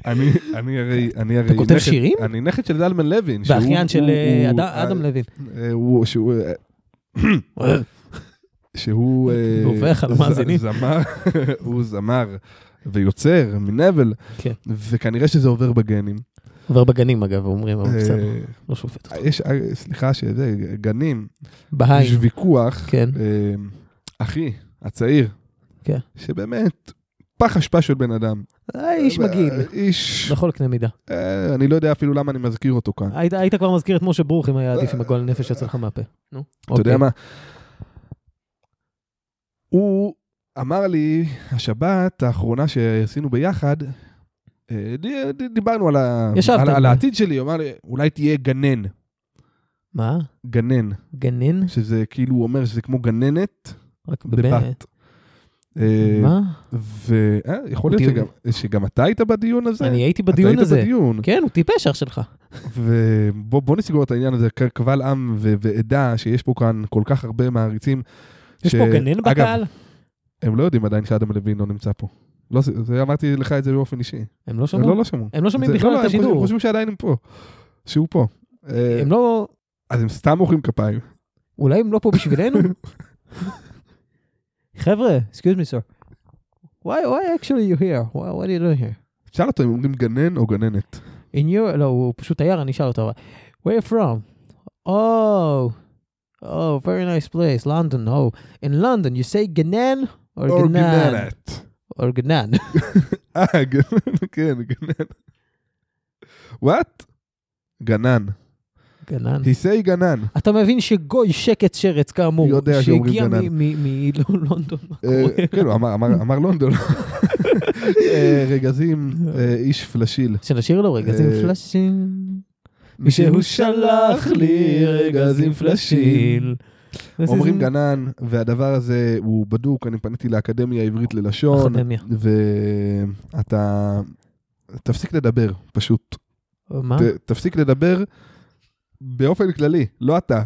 אני אני הרי... אני הרי
כותב
נכד-
שירים?
אני נכד של דלמן לוין. שהוא-
ואחיין של
הוא-
אה,
הוא-
אד-
אה,
אדם לוין.
אה, הוא- שהוא... אה, שהוא... אה,
דווח על
ז-
המאזינים.
זמר, הוא זמר ויוצר מנבל,
כן.
וכנראה שזה עובר בגנים.
עובר בגנים אגב, אומרים, אבל בסדר,
אה,
לא שופט. אותך.
יש, אה, סליחה, שזה, גנים, יש
בהיים,
ויכוח,
כן.
אה, אחי, הצעיר,
כן.
שבאמת, פח אשפה של בן אדם.
אה, איש מגעיל, נכון.
איש,
בכל קנה מידה.
אה, אני לא יודע אפילו למה אני מזכיר אותו כאן.
היית- היית כבר מזכיר את משה ברוך אם היה עדיף עם הגועל נפש יוצא לך מהפה. נו.
אה. אתה
אוקיי.
יודע מה? הוא אמר לי, השבת האחרונה שעשינו ביחד, אה, ד- ד- דיברנו על, ה...
ישבת
על,
על
על
זה.
העתיד שלי, הוא אמר לי, אולי תהיה גנן.
מה?
גנן,
גנן?
שזה כאילו, הוא אומר שזה כמו גננת
רק בבן...
בבת. אה,
מה?
ויכול להיות
דיון.
שגם, שגם אתה היית בדיון הזה.
אני הייתי בדיון הזה.
אתה היית בדיון.
כן, הוא טיפש אח שלך.
ובוא בוא נסגור את העניין הזה, ק- קבל עם ו- ועדה שיש פה כאן כל כך הרבה מעריצים.
יש
ש-
פה גנן
אגב,
בקהל?
הם לא יודעים עדיין שאדם לוין לא נמצא פה. לא, זה- זה, אמרתי לך את זה באופן אישי.
הם לא
הם
שמעו?
לא, לא שמעו.
הם לא שומעים
זה-
בכלל
לא,
את
הם חושבים-
השידור.
חושבים שעדיין הם פה. שהוא פה. אה,
הם לא...
אז הם סתם מוחאים כפיים.
אולי הם לא פה בשבילנו? חבר'ה, excuse me sir. Why, why actually you here? Why, what are you doing here?
שאל אותו אם אומרים גנן או גננת.
In your... לא, הוא פשוט תייר, אני אשאל אותו. אבל, Where you from? Oh, oh, very nice place, London. Oh, in London you say גנן or
או
גנן?
גננת.
Or גנן.
אה, גנן, כן, גנן. וואט? גנן.
גנן.
היסי גנן.
אתה מבין שגוי שקט שרץ כאמור,
יודע שאומרים
שהגיע
גנן.
מלונדון, מה קורה?
אה, כן, הוא אמר- אמר אמר לונדון. אה, רגזים, אה, איש פלשיל.
שנשאיר לו רגע, זה
אה,
עם פלאשים. מישהו שלח לי רגזים פלאשים.
אומרים גנן, והדבר הזה הוא בדוק, אני פניתי לאקדמיה העברית ללשון.
אקדמיה.
ואתה... תפסיק לדבר, פשוט.
מה?
ת- תפסיק לדבר באופן כללי, לא אתה.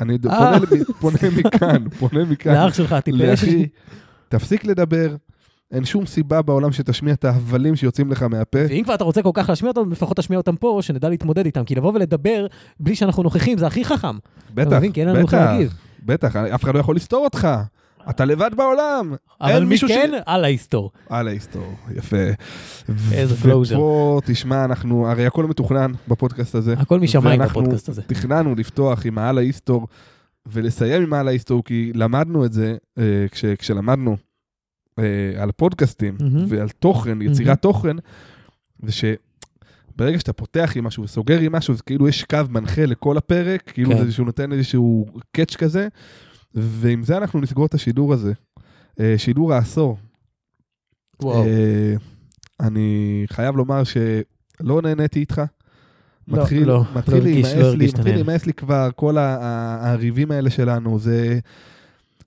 אני ד-
אה,
פונה למי- פונה מכאן, פונה מכאן.
לאח שלך הטיפש.
כן. לאחי, תפסיק לדבר. אין שום סיבה בעולם שתשמיע את ההבלים שיוצאים לך מהפה.
ואם כבר אתה רוצה כל כך להשמיע אותם, לפחות תשמיע אותם פה, שנדע להתמודד איתם. כי לבוא ולדבר בלי שאנחנו נוכחים, זה הכי חכם. אתה
בטח,
מבין? כי אין לנו איך
בטח,
להגיב.
בטח, אף אחד לא יכול לסתור אותך. אתה לבד בעולם.
אבל מי
מישהו ש-
כן, אללה יסתור.
על ההיסטור, יפה.
איזה
ופה, תשמע, אנחנו, הרי הכל מתוכנן בפודקאסט הזה.
הכל משמיים
ואנחנו
בפודקאסט הזה.
תכננו לפתוח עם העל ההיסטור ולסיים עם העל ההיסטור, כי למדנו את זה אה, כש, כשלמדנו אה, על פודקאסטים
מהמם.
ועל תוכן, יצירת תוכן, ושברגע שאתה פותח עם משהו וסוגר עם משהו, זה כאילו יש קו מנחה לכל הפרק, כאילו
כן.
זה שהוא נותן איזשהו קאץ' כזה, ועם זה אנחנו נסגור את השידור הזה. אה, שידור העשור.
וואו.
אה, אני חייב לומר שלא נהניתי איתך.
לא,
מתחיל,
לא,
מתחיל
לא הרגיש,
להימאס
לא
לי,
הרגיש את
מתחיל
הנהנה.
להימאס לי כבר, כל ה- ה- הריבים האלה שלנו, זה...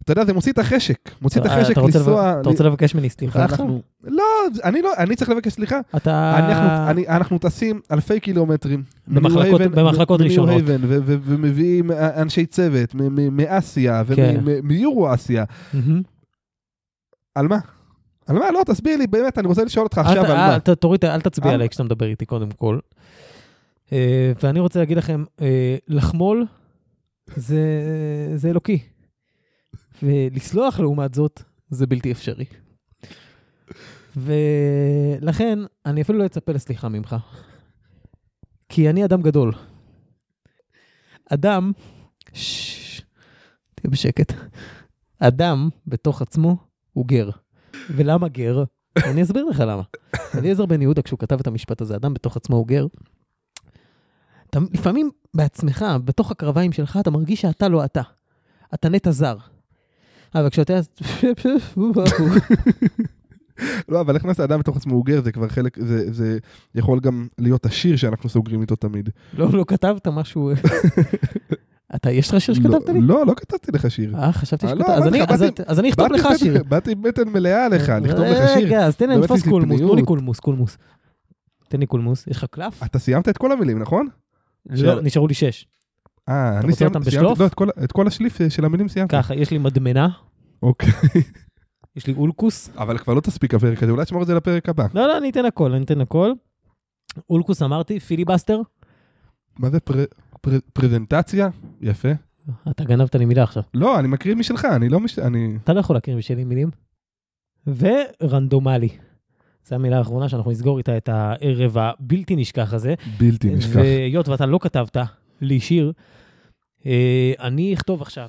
אתה יודע, זה מוציא את החשק, מוציא את
אתה-
החשק
אתה רוצה
לנסוע...
לב- אתה רוצה לבקש ממני סליחה עכשיו?
ואנחנו- לא, אני לא, אני צריך לבקש סליחה.
אתה...
אנחנו- אני- לא אנחנו טסים אלפי קילומטרים.
במחלקות-
מניו-הייבן-
במחלקות
מניו-הייבן,
ראשונות.
ו- ו- ו- ומביאים אנשי צוות מ- מ- מאסיה
כן.
ומיורו-אסיה.
מהמם.
על מה? על מה? לא, תסביר לי, באמת, אני רוצה לשאול אותך
אל
עכשיו
ת- אה,
על מה. אה?
אל ת- תוריד, אל תצביע
על-
עליי כשאתה מדבר איתי קודם כל. אה, ואני רוצה להגיד לכם, אה, לחמול זה זה אלוקי. ולסלוח לעומת זאת, זה בלתי אפשרי. ולכן, אני אפילו לא אצפה לסליחה ממך. כי אני אדם גדול. אדם, ששש, תהיה בשקט. אדם בתוך עצמו הוא גר. ולמה גר? אני אסביר לך למה. אליעזר בן יהודה, כשהוא כתב את המשפט הזה, אדם בתוך עצמו הוא גר, אתה לפעמים בעצמך, בתוך הקרביים שלך, אתה מרגיש שאתה לא אתה. אתה נטע זר. אבל כשאתה...
לא, אבל איך נעשה אדם בתוך עצמו הוא גר, זה כבר חלק, זה, זה יכול גם להיות השיר שאנחנו סוגרים איתו תמיד.
לא, לא כתבת משהו... אתה, יש לך שיר שכתבת
לא,
לי?
לא, לא כתבתי לך שיר.
אה, חשבתי
אה, לא,
שכתבת. אז
אמרתי
אני-
לך,
אז
באתי-
את- אז אני אכתוב
באתי
לך
עם בטן-
שיר.
באתי עם בטן מלאה עליך, לכתוב לך שיר.
רגע, אז תן לי
באמת
לתפוס
יש לי
קולמוס, תנו לי
פניות.
קולמוס, קולמוס. תן לי קולמוס, יש לך קלף?
אתה סיימת את כל המילים, נכון?
לא, נשארו לי שש.
אה, אני
רוצה
סיימתי,
אותם
סיימתי,
בשלוף?
לא, את כל- את כל השליף אה, של המילים סיימתי.
ככה, יש לי מדמנה,
אוקיי.
יש לי אולקוס.
אבל כבר לא תספיק הפרק הזה, אולי תשמור את זה לפרק הבא.
לא, לא, אני אתן הכל, אני אתן הכל. אולקוס אמרתי, פיליבסטר.
מה זה פר- פר- פרזנטציה? יפה.
אתה גנבת לי מילה עכשיו.
לא, אני מקריא משלך, אני לא מש... אני...
אתה לא יכול להכיר בשלי מילים. ורנדומלי. זו המילה האחרונה שאנחנו נסגור איתה את הערב הבלתי נשכח הזה.
בלתי נשכח.
והיות ואתה לא כתבת לי שיר, אה, אני אכתוב עכשיו.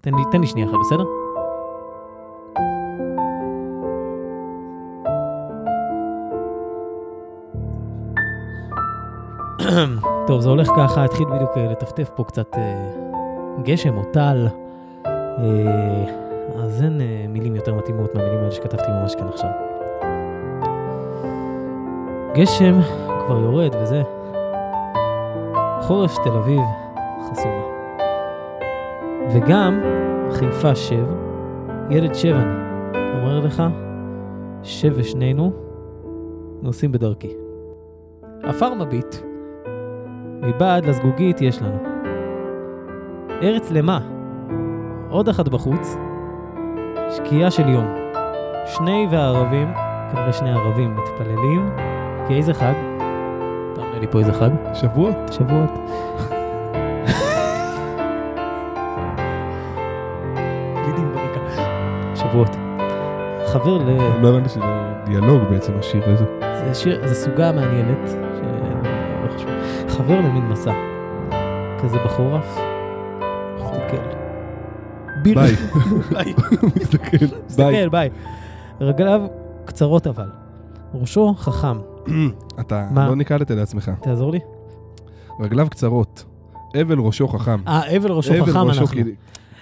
תן לי, תן לי שנייה אחת, בסדר? טוב, זה הולך ככה, התחיל בדיוק אה, לטפטף פה קצת אה, גשם או טל. אה, אז אין אה, מילים יותר מתאימות מהמילים האלה שכתבתי ממש כאן עכשיו. הגשם כבר יורד וזה. חורף תל אביב חסומה. וגם חיפה שב, ילד שב אני, אומר לך, שב ושנינו נוסעים בדרכי. עפר מביט, מבעד לזגוגית יש לנו. ארץ למה, עוד אחת בחוץ, שקיעה של יום. שני והערבים, כנראה שני ערבים מתפללים, כי איזה חג? אתה אומר לי פה איזה חג?
שבועות?
שבועות. גידים ברקע. שבועות. חבר ל...
לא הבנתי שזה דיאלוג בעצם השיר הזה.
זה שיר, זה סוגה מעניינת, שלא חשוב. חבר למין מסע. כזה בחורף. מסתכל. ביר-
ביי.
ביי.
מסתכל. ביי.
מסתכל, ביי. רגליו קצרות אבל. ראשו חכם.
אתה
מה?
לא ניקדת לעצמך.
תעזור לי.
רגליו קצרות. אבל ראשו חכם.
אה, אבל ראשו
אבל
חכם
ראשו,
אנחנו.
כי-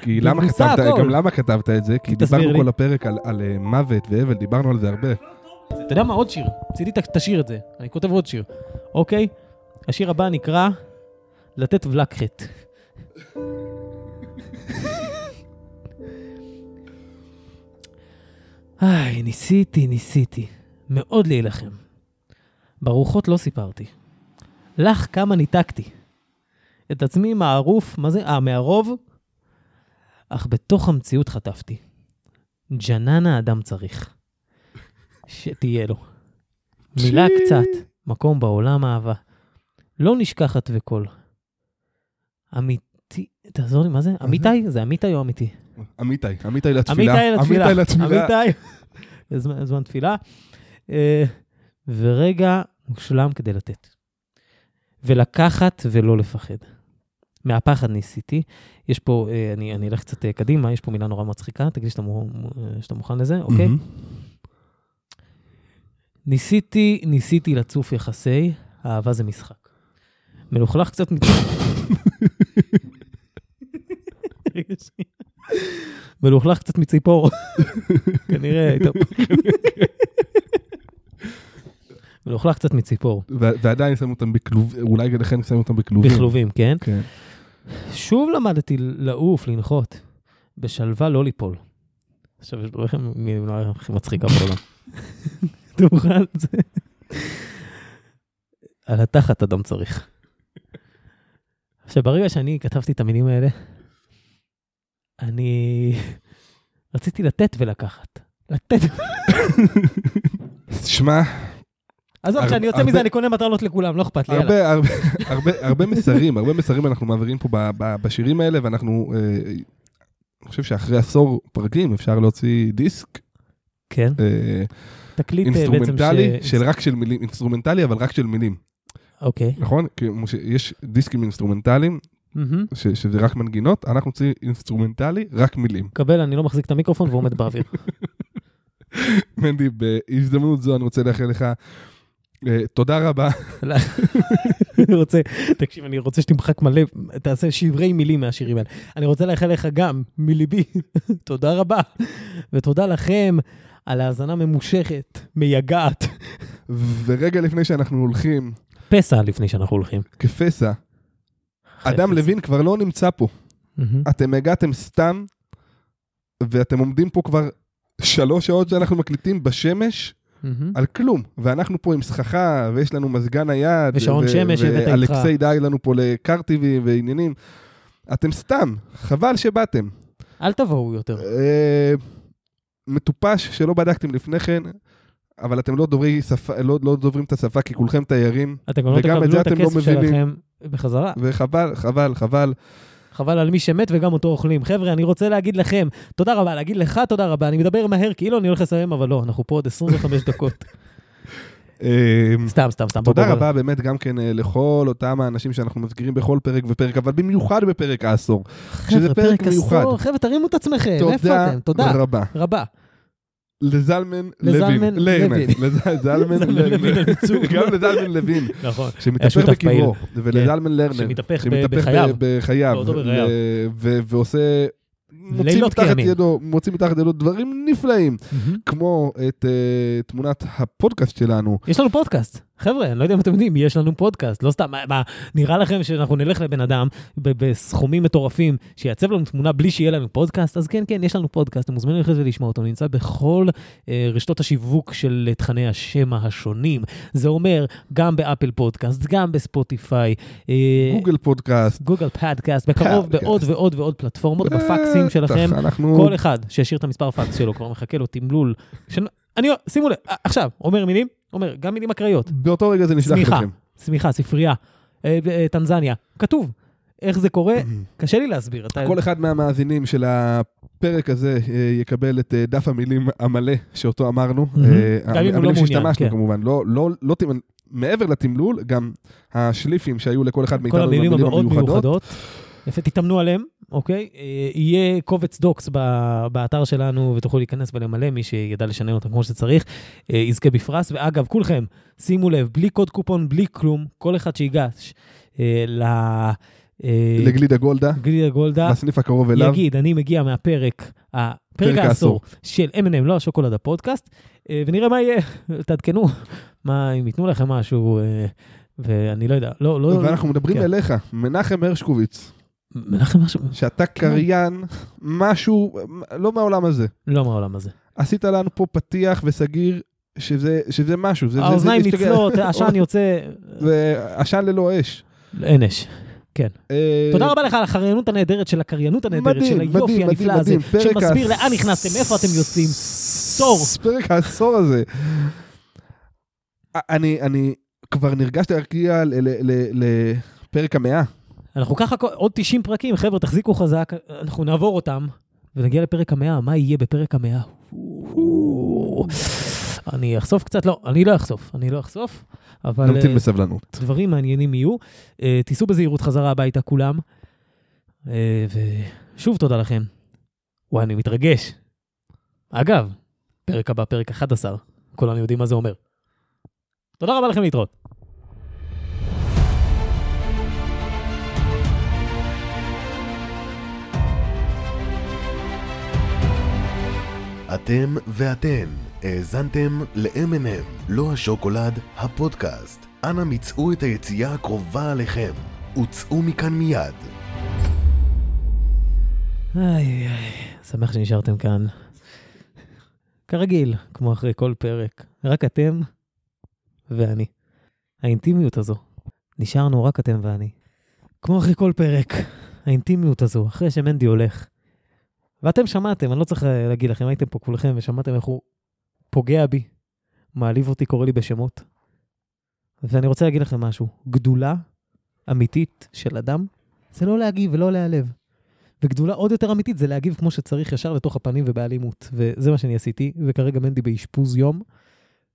כי למה
במוסר
כתבת,
הכל.
גם למה כתבת את זה? כי
תסביר
דיברנו
לי.
כל הפרק על- על אה, מוות והבל, דיברנו על זה הרבה.
אתה יודע מה? עוד שיר. צידי ת- תשאיר את זה. אני כותב עוד שיר. אוקיי? השיר הבא נקרא לתת ולקחת. היי, ניסיתי, ניסיתי. מאוד להילחם. ברוחות לא סיפרתי. לך כמה ניתקתי. את עצמי מערוף, מה זה? אה, מהרוב? אך בתוך המציאות חטפתי. ג'ננה אדם צריך. שתהיה לו. מילה
צ'י.
קצת, מקום בעולם אהבה. לא נשכחת וקול. אמיתי, תעזור לי, מה זה? אמיתי? זה אמיתי או אמיתי?
אמיתי, אמיתי לתפילה.
אמיתי לתפילה.
אמיתי לתפילה.
אמיתי. זה זמן- זמן תפילה. אה, ורגע מושלם כדי לתת. ולקחת ולא לפחד. מהפחד ניסיתי. יש פה, אה, אני אני אלך קצת אה, קדימה, יש פה מילה נורא מצחיקה, תגיד לי שאתה מו- אה, שאתה מוכן לזה, אוקיי?
מהמם.
ניסיתי, ניסיתי לצוף יחסי, אהבה זה משחק. מלוכלך קצת מת... רגע, שנייה. מלוכלך קצת מציפור. כנראה הייתה... מלוכלך קצת מציפור.
ו- ועדיין שמו אותם בכלוב, אולי לכן שמו אותם בכלובים.
בכלובים, כן?
כן.
שוב למדתי לעוף, לנחות. בשלווה לא ליפול. עכשיו, יש ברור לכם מילה הכי מצחיקה בעולם. אתה מוכן? זה- על התחת אדם צריך. עכשיו, ברגע שאני כתבתי את המילים האלה, אני רציתי לתת ולקחת. לתת.
שמע,
עזוב,
הר-
כשאני יוצא
הרבה-
מזה אני קונה מטרנות לכולם, לא אכפת לי, יאללה.
הרבה, הרבה, הרבה, הרבה מסרים, הרבה מסרים אנחנו מעבירים פה ב, ב, בשירים האלה, ואנחנו, אה, אני חושב שאחרי עשור פרקים אפשר להוציא דיסק
כן,
אה,
תקליט אה, בעצם ש...
אינסטרומנטלי, של רק של מילים, אינסטרומנטלי אבל רק של מילים,
אוקיי.
נכון? כמו שיש דיסקים אינסטרומנטליים,
מהמם.
ש, שזה רק מנגינות, אנחנו נוציא אינסטרומנטלי, רק מילים.
קבל, אני לא מחזיק את המיקרופון ועומד באוויר.
מנדי, בהזדמנות זו אני רוצה לאחל לך אה, תודה רבה.
אני רוצה, תקשיב, אני רוצה שתמחק מלא, תעשה שברי מילים מהשירים האלה. אני רוצה לאחל לך גם, מליבי, תודה רבה. ותודה לכם על האזנה ממושכת, מייגעת.
ורגע לפני שאנחנו הולכים,
פסע לפני שאנחנו הולכים.
כפסע, אדם לוין כבר לא נמצא פה.
מהמם.
אתם הגעתם סתם, ואתם עומדים פה כבר שלוש שעות שאנחנו מקליטים בשמש
מהמם.
על כלום. ואנחנו פה עם סככה, ויש לנו מזגן נייד.
ושעון שמש הבאת איתך.
ואלכסיי די לנו פה לקרטיבים ועניינים. אתם סתם, חבל שבאתם.
אל תבואו יותר.
אה, מטופש שלא בדקתם לפני כן, אבל אתם לא, דוברי שפה, לא, לא דוברים את השפה כי כולכם תיירים,
אתם גם לא
וגם את
תקבלו
זה
את
אתם לא
הכסף
מבינים.
שלכם בחזרה.
וחבל, חבל, חבל.
חבל על מי שמת וגם אותו אוכלים. חבר'ה, אני רוצה להגיד לכם, תודה רבה, להגיד לך תודה רבה. אני מדבר מהר כאילו אני הולך לסיים, אבל לא, אנחנו פה עוד 25 דקות.
אה,
סתם, סתם, סתם. בוא,
תודה
בוא, בוא.
רבה באמת גם כן אה, לכל אותם האנשים שאנחנו מזכירים בכל פרק ופרק, אבל במיוחד בפרק העשור. שזה
חבר'ה,
פרק
פרק עשור,
מיוחד.
חבר'ה, תרימו את עצמכם, איפה
תודה
אתם? תודה
רבה.
רבה.
לזלמן
לזלמן
לוין. ליימן.
לוין.
לז- זלמן
זלמן
לוין.
לוין לא? על ייצוג.
גם לזלמן לוין,
נכון. היה
שמתהפך
שותף פעיל.
בקברו, ולזלמן לרנר,
שמתהפך כן. ב-
שמתהפך ב-
בחייו.
בחייו,
באותו בחייו.
ל- ו- ועושה... מוציא
לילות
מתחת
כימים.
ידו- מוציא מתחת ידו דברים נפלאים, כמו את אה, תמונת הפודקאסט שלנו,
יש לנו פודקאסט. חבר'ה, אני לא יודע אם אתם יודעים, יש לנו פודקאסט, לא סתם, מה, מה, נראה לכם שאנחנו נלך לבן אדם ב- בסכומים מטורפים, שיעצב לנו תמונה בלי שיהיה לנו פודקאסט? אז כן, כן, יש לנו פודקאסט, אתם מוזמנים ללכת ולשמוע אותו, הוא נמצא בכל אה, רשתות השיווק של תכני השמע השונים. זה אומר, גם באפל פודקאסט, גם בספוטיפיי. אה,
גוגל פודקאסט.
גוגל פודקאסט, בקרוב
פודקאסט.
בעוד ועוד ועוד פלטפורמות, בפקסים שלכם.
בטח, אנחנו...
כל אחד שישאיר את המספר פקס שלו, כבר מחכה לו תמלול. של- אני, שימו לב, אה, עכשיו, אומר מילים, אומר גם מילים אקראיות,
באותו רגע זה נשלח
צמיחה.
לכם.
סמיכה, ספרייה, אה, אה, טנזניה, כתוב. איך זה קורה? קשה לי להסביר. אתה...
כל אחד מהמאזינים של הפרק הזה אה, יקבל את אה, דף המילים המלא שאותו אמרנו.
מהמם.
אה,
גם אם הוא לא
המילים
מעוניין,
שהשתמשנו
כן.
כמובן, לא, לא, לא, תמ- מעבר לתמלול, גם השליפים שהיו לכל אחד מאיתנו
כל
עם
המילים המאוד
המיוחדות.
מיוחדות. יפה, תתאמנו עליהם, אוקיי? אה, יהיה קובץ דוקס ב- באתר שלנו, ותוכלו להיכנס ולמלא, מי שידע לשנן אותם כמו שצריך, אה, יזכה בפרס. ואגב, כולכם, שימו לב, בלי קוד קופון, בלי כלום, כל אחד שיגש אה, ל... אה,
לגלידה גולדה,
גלידה גולדה,
בסניף הקרוב אליו.
יגיד, אני מגיע מהפרק, הפרק
פרק
העשור
העשור.
של M&M, לא השוקולד הפודקאסט, אה, ונראה מה יהיה, תעדכנו, מה, אם ייתנו לכם משהו, אה, ואני לא יודע, לא, לא,
ואנחנו מדברים
כן.
אליך, מנחם הרשקוביץ,
מנחם משהו,
שאתה קריין, משהו, אה, לא מהעולם הזה.
לא מהעולם הזה.
עשית לנו פה פתיח וסגיר, שזה, שזה משהו. זה- זה- זה
האוזניים
משתגע.
נצלות, העשן יוצא,
זה עשן ללא אש.
אין אש.
אה,
תודה רבה לך על החריינות הנהדרת של הקריינות הנהדרת,
מדהים,
של היופי
מדהים,
הנפלא
מדהים,
הזה,
מדהים. פרק
שמסביר
ה-
לאן נכנסתם, מאיפה אתם יוצאים. עשור.
פרק העשור הזה. אני, אני כבר נרגשתי להגיע ל- ל- ל- לפרק המאה.
אנחנו ככה כל- עוד 90 פרקים, חבר'ה, תחזיקו חזק, אנחנו נעבור אותם, ונגיע לפרק המאה, מה יהיה בפרק המאה? אני אחשוף קצת, לא, אני לא אחשוף, אני לא אחשוף, אבל
נמתין
אה,
בסבלנות.
דברים מעניינים יהיו. אה, תיסעו בזהירות חזרה הביתה כולם, אה, ושוב תודה לכם. וואי, אני מתרגש. אגב, פרק הבא, פרק 11, כולנו יודעים מה זה אומר. תודה רבה לכם להתראות.
אתם ואתן האזנתם ל-M&M, לא השוקולד, הפודקאסט. אנא מצאו את היציאה הקרובה עליכם וצאו מכאן מיד.
איי, איי, שמח שנשארתם כאן. כרגיל, כמו אחרי כל פרק, רק אתם ואני. האינטימיות הזו. נשארנו רק אתם ואני. כמו אחרי כל פרק, האינטימיות הזו, אחרי שמנדי הולך. ואתם שמעתם, אני לא צריך אה, להגיד לכם, הייתם פה כולכם ושמעתם איך הוא פוגע בי, מעליב אותי, קורא לי בשמות. ואני רוצה להגיד לכם משהו, גדולה אמיתית של אדם זה לא להגיב ולא להיעלב. וגדולה עוד יותר אמיתית זה להגיב כמו שצריך, ישר לתוך הפנים ובאלימות. וזה מה שאני עשיתי, וכרגע מנדי באשפוז יום.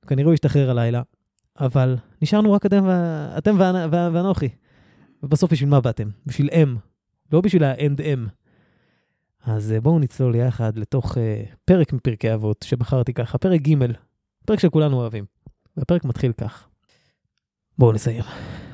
כנראה הוא ישתחרר הלילה, אבל נשארנו רק אתם, ו- אתם ואנ- ו- ואנוכי. ובסוף בשביל מה באתם? בשביל אם, לא בשביל ה-end אם. אז אה, בואו נצלול יחד לתוך אה, פרק מפרקי אבות שבחרתי ככה, פרק ג', פרק שכולנו אוהבים. והפרק מתחיל כך. בואו נסיים.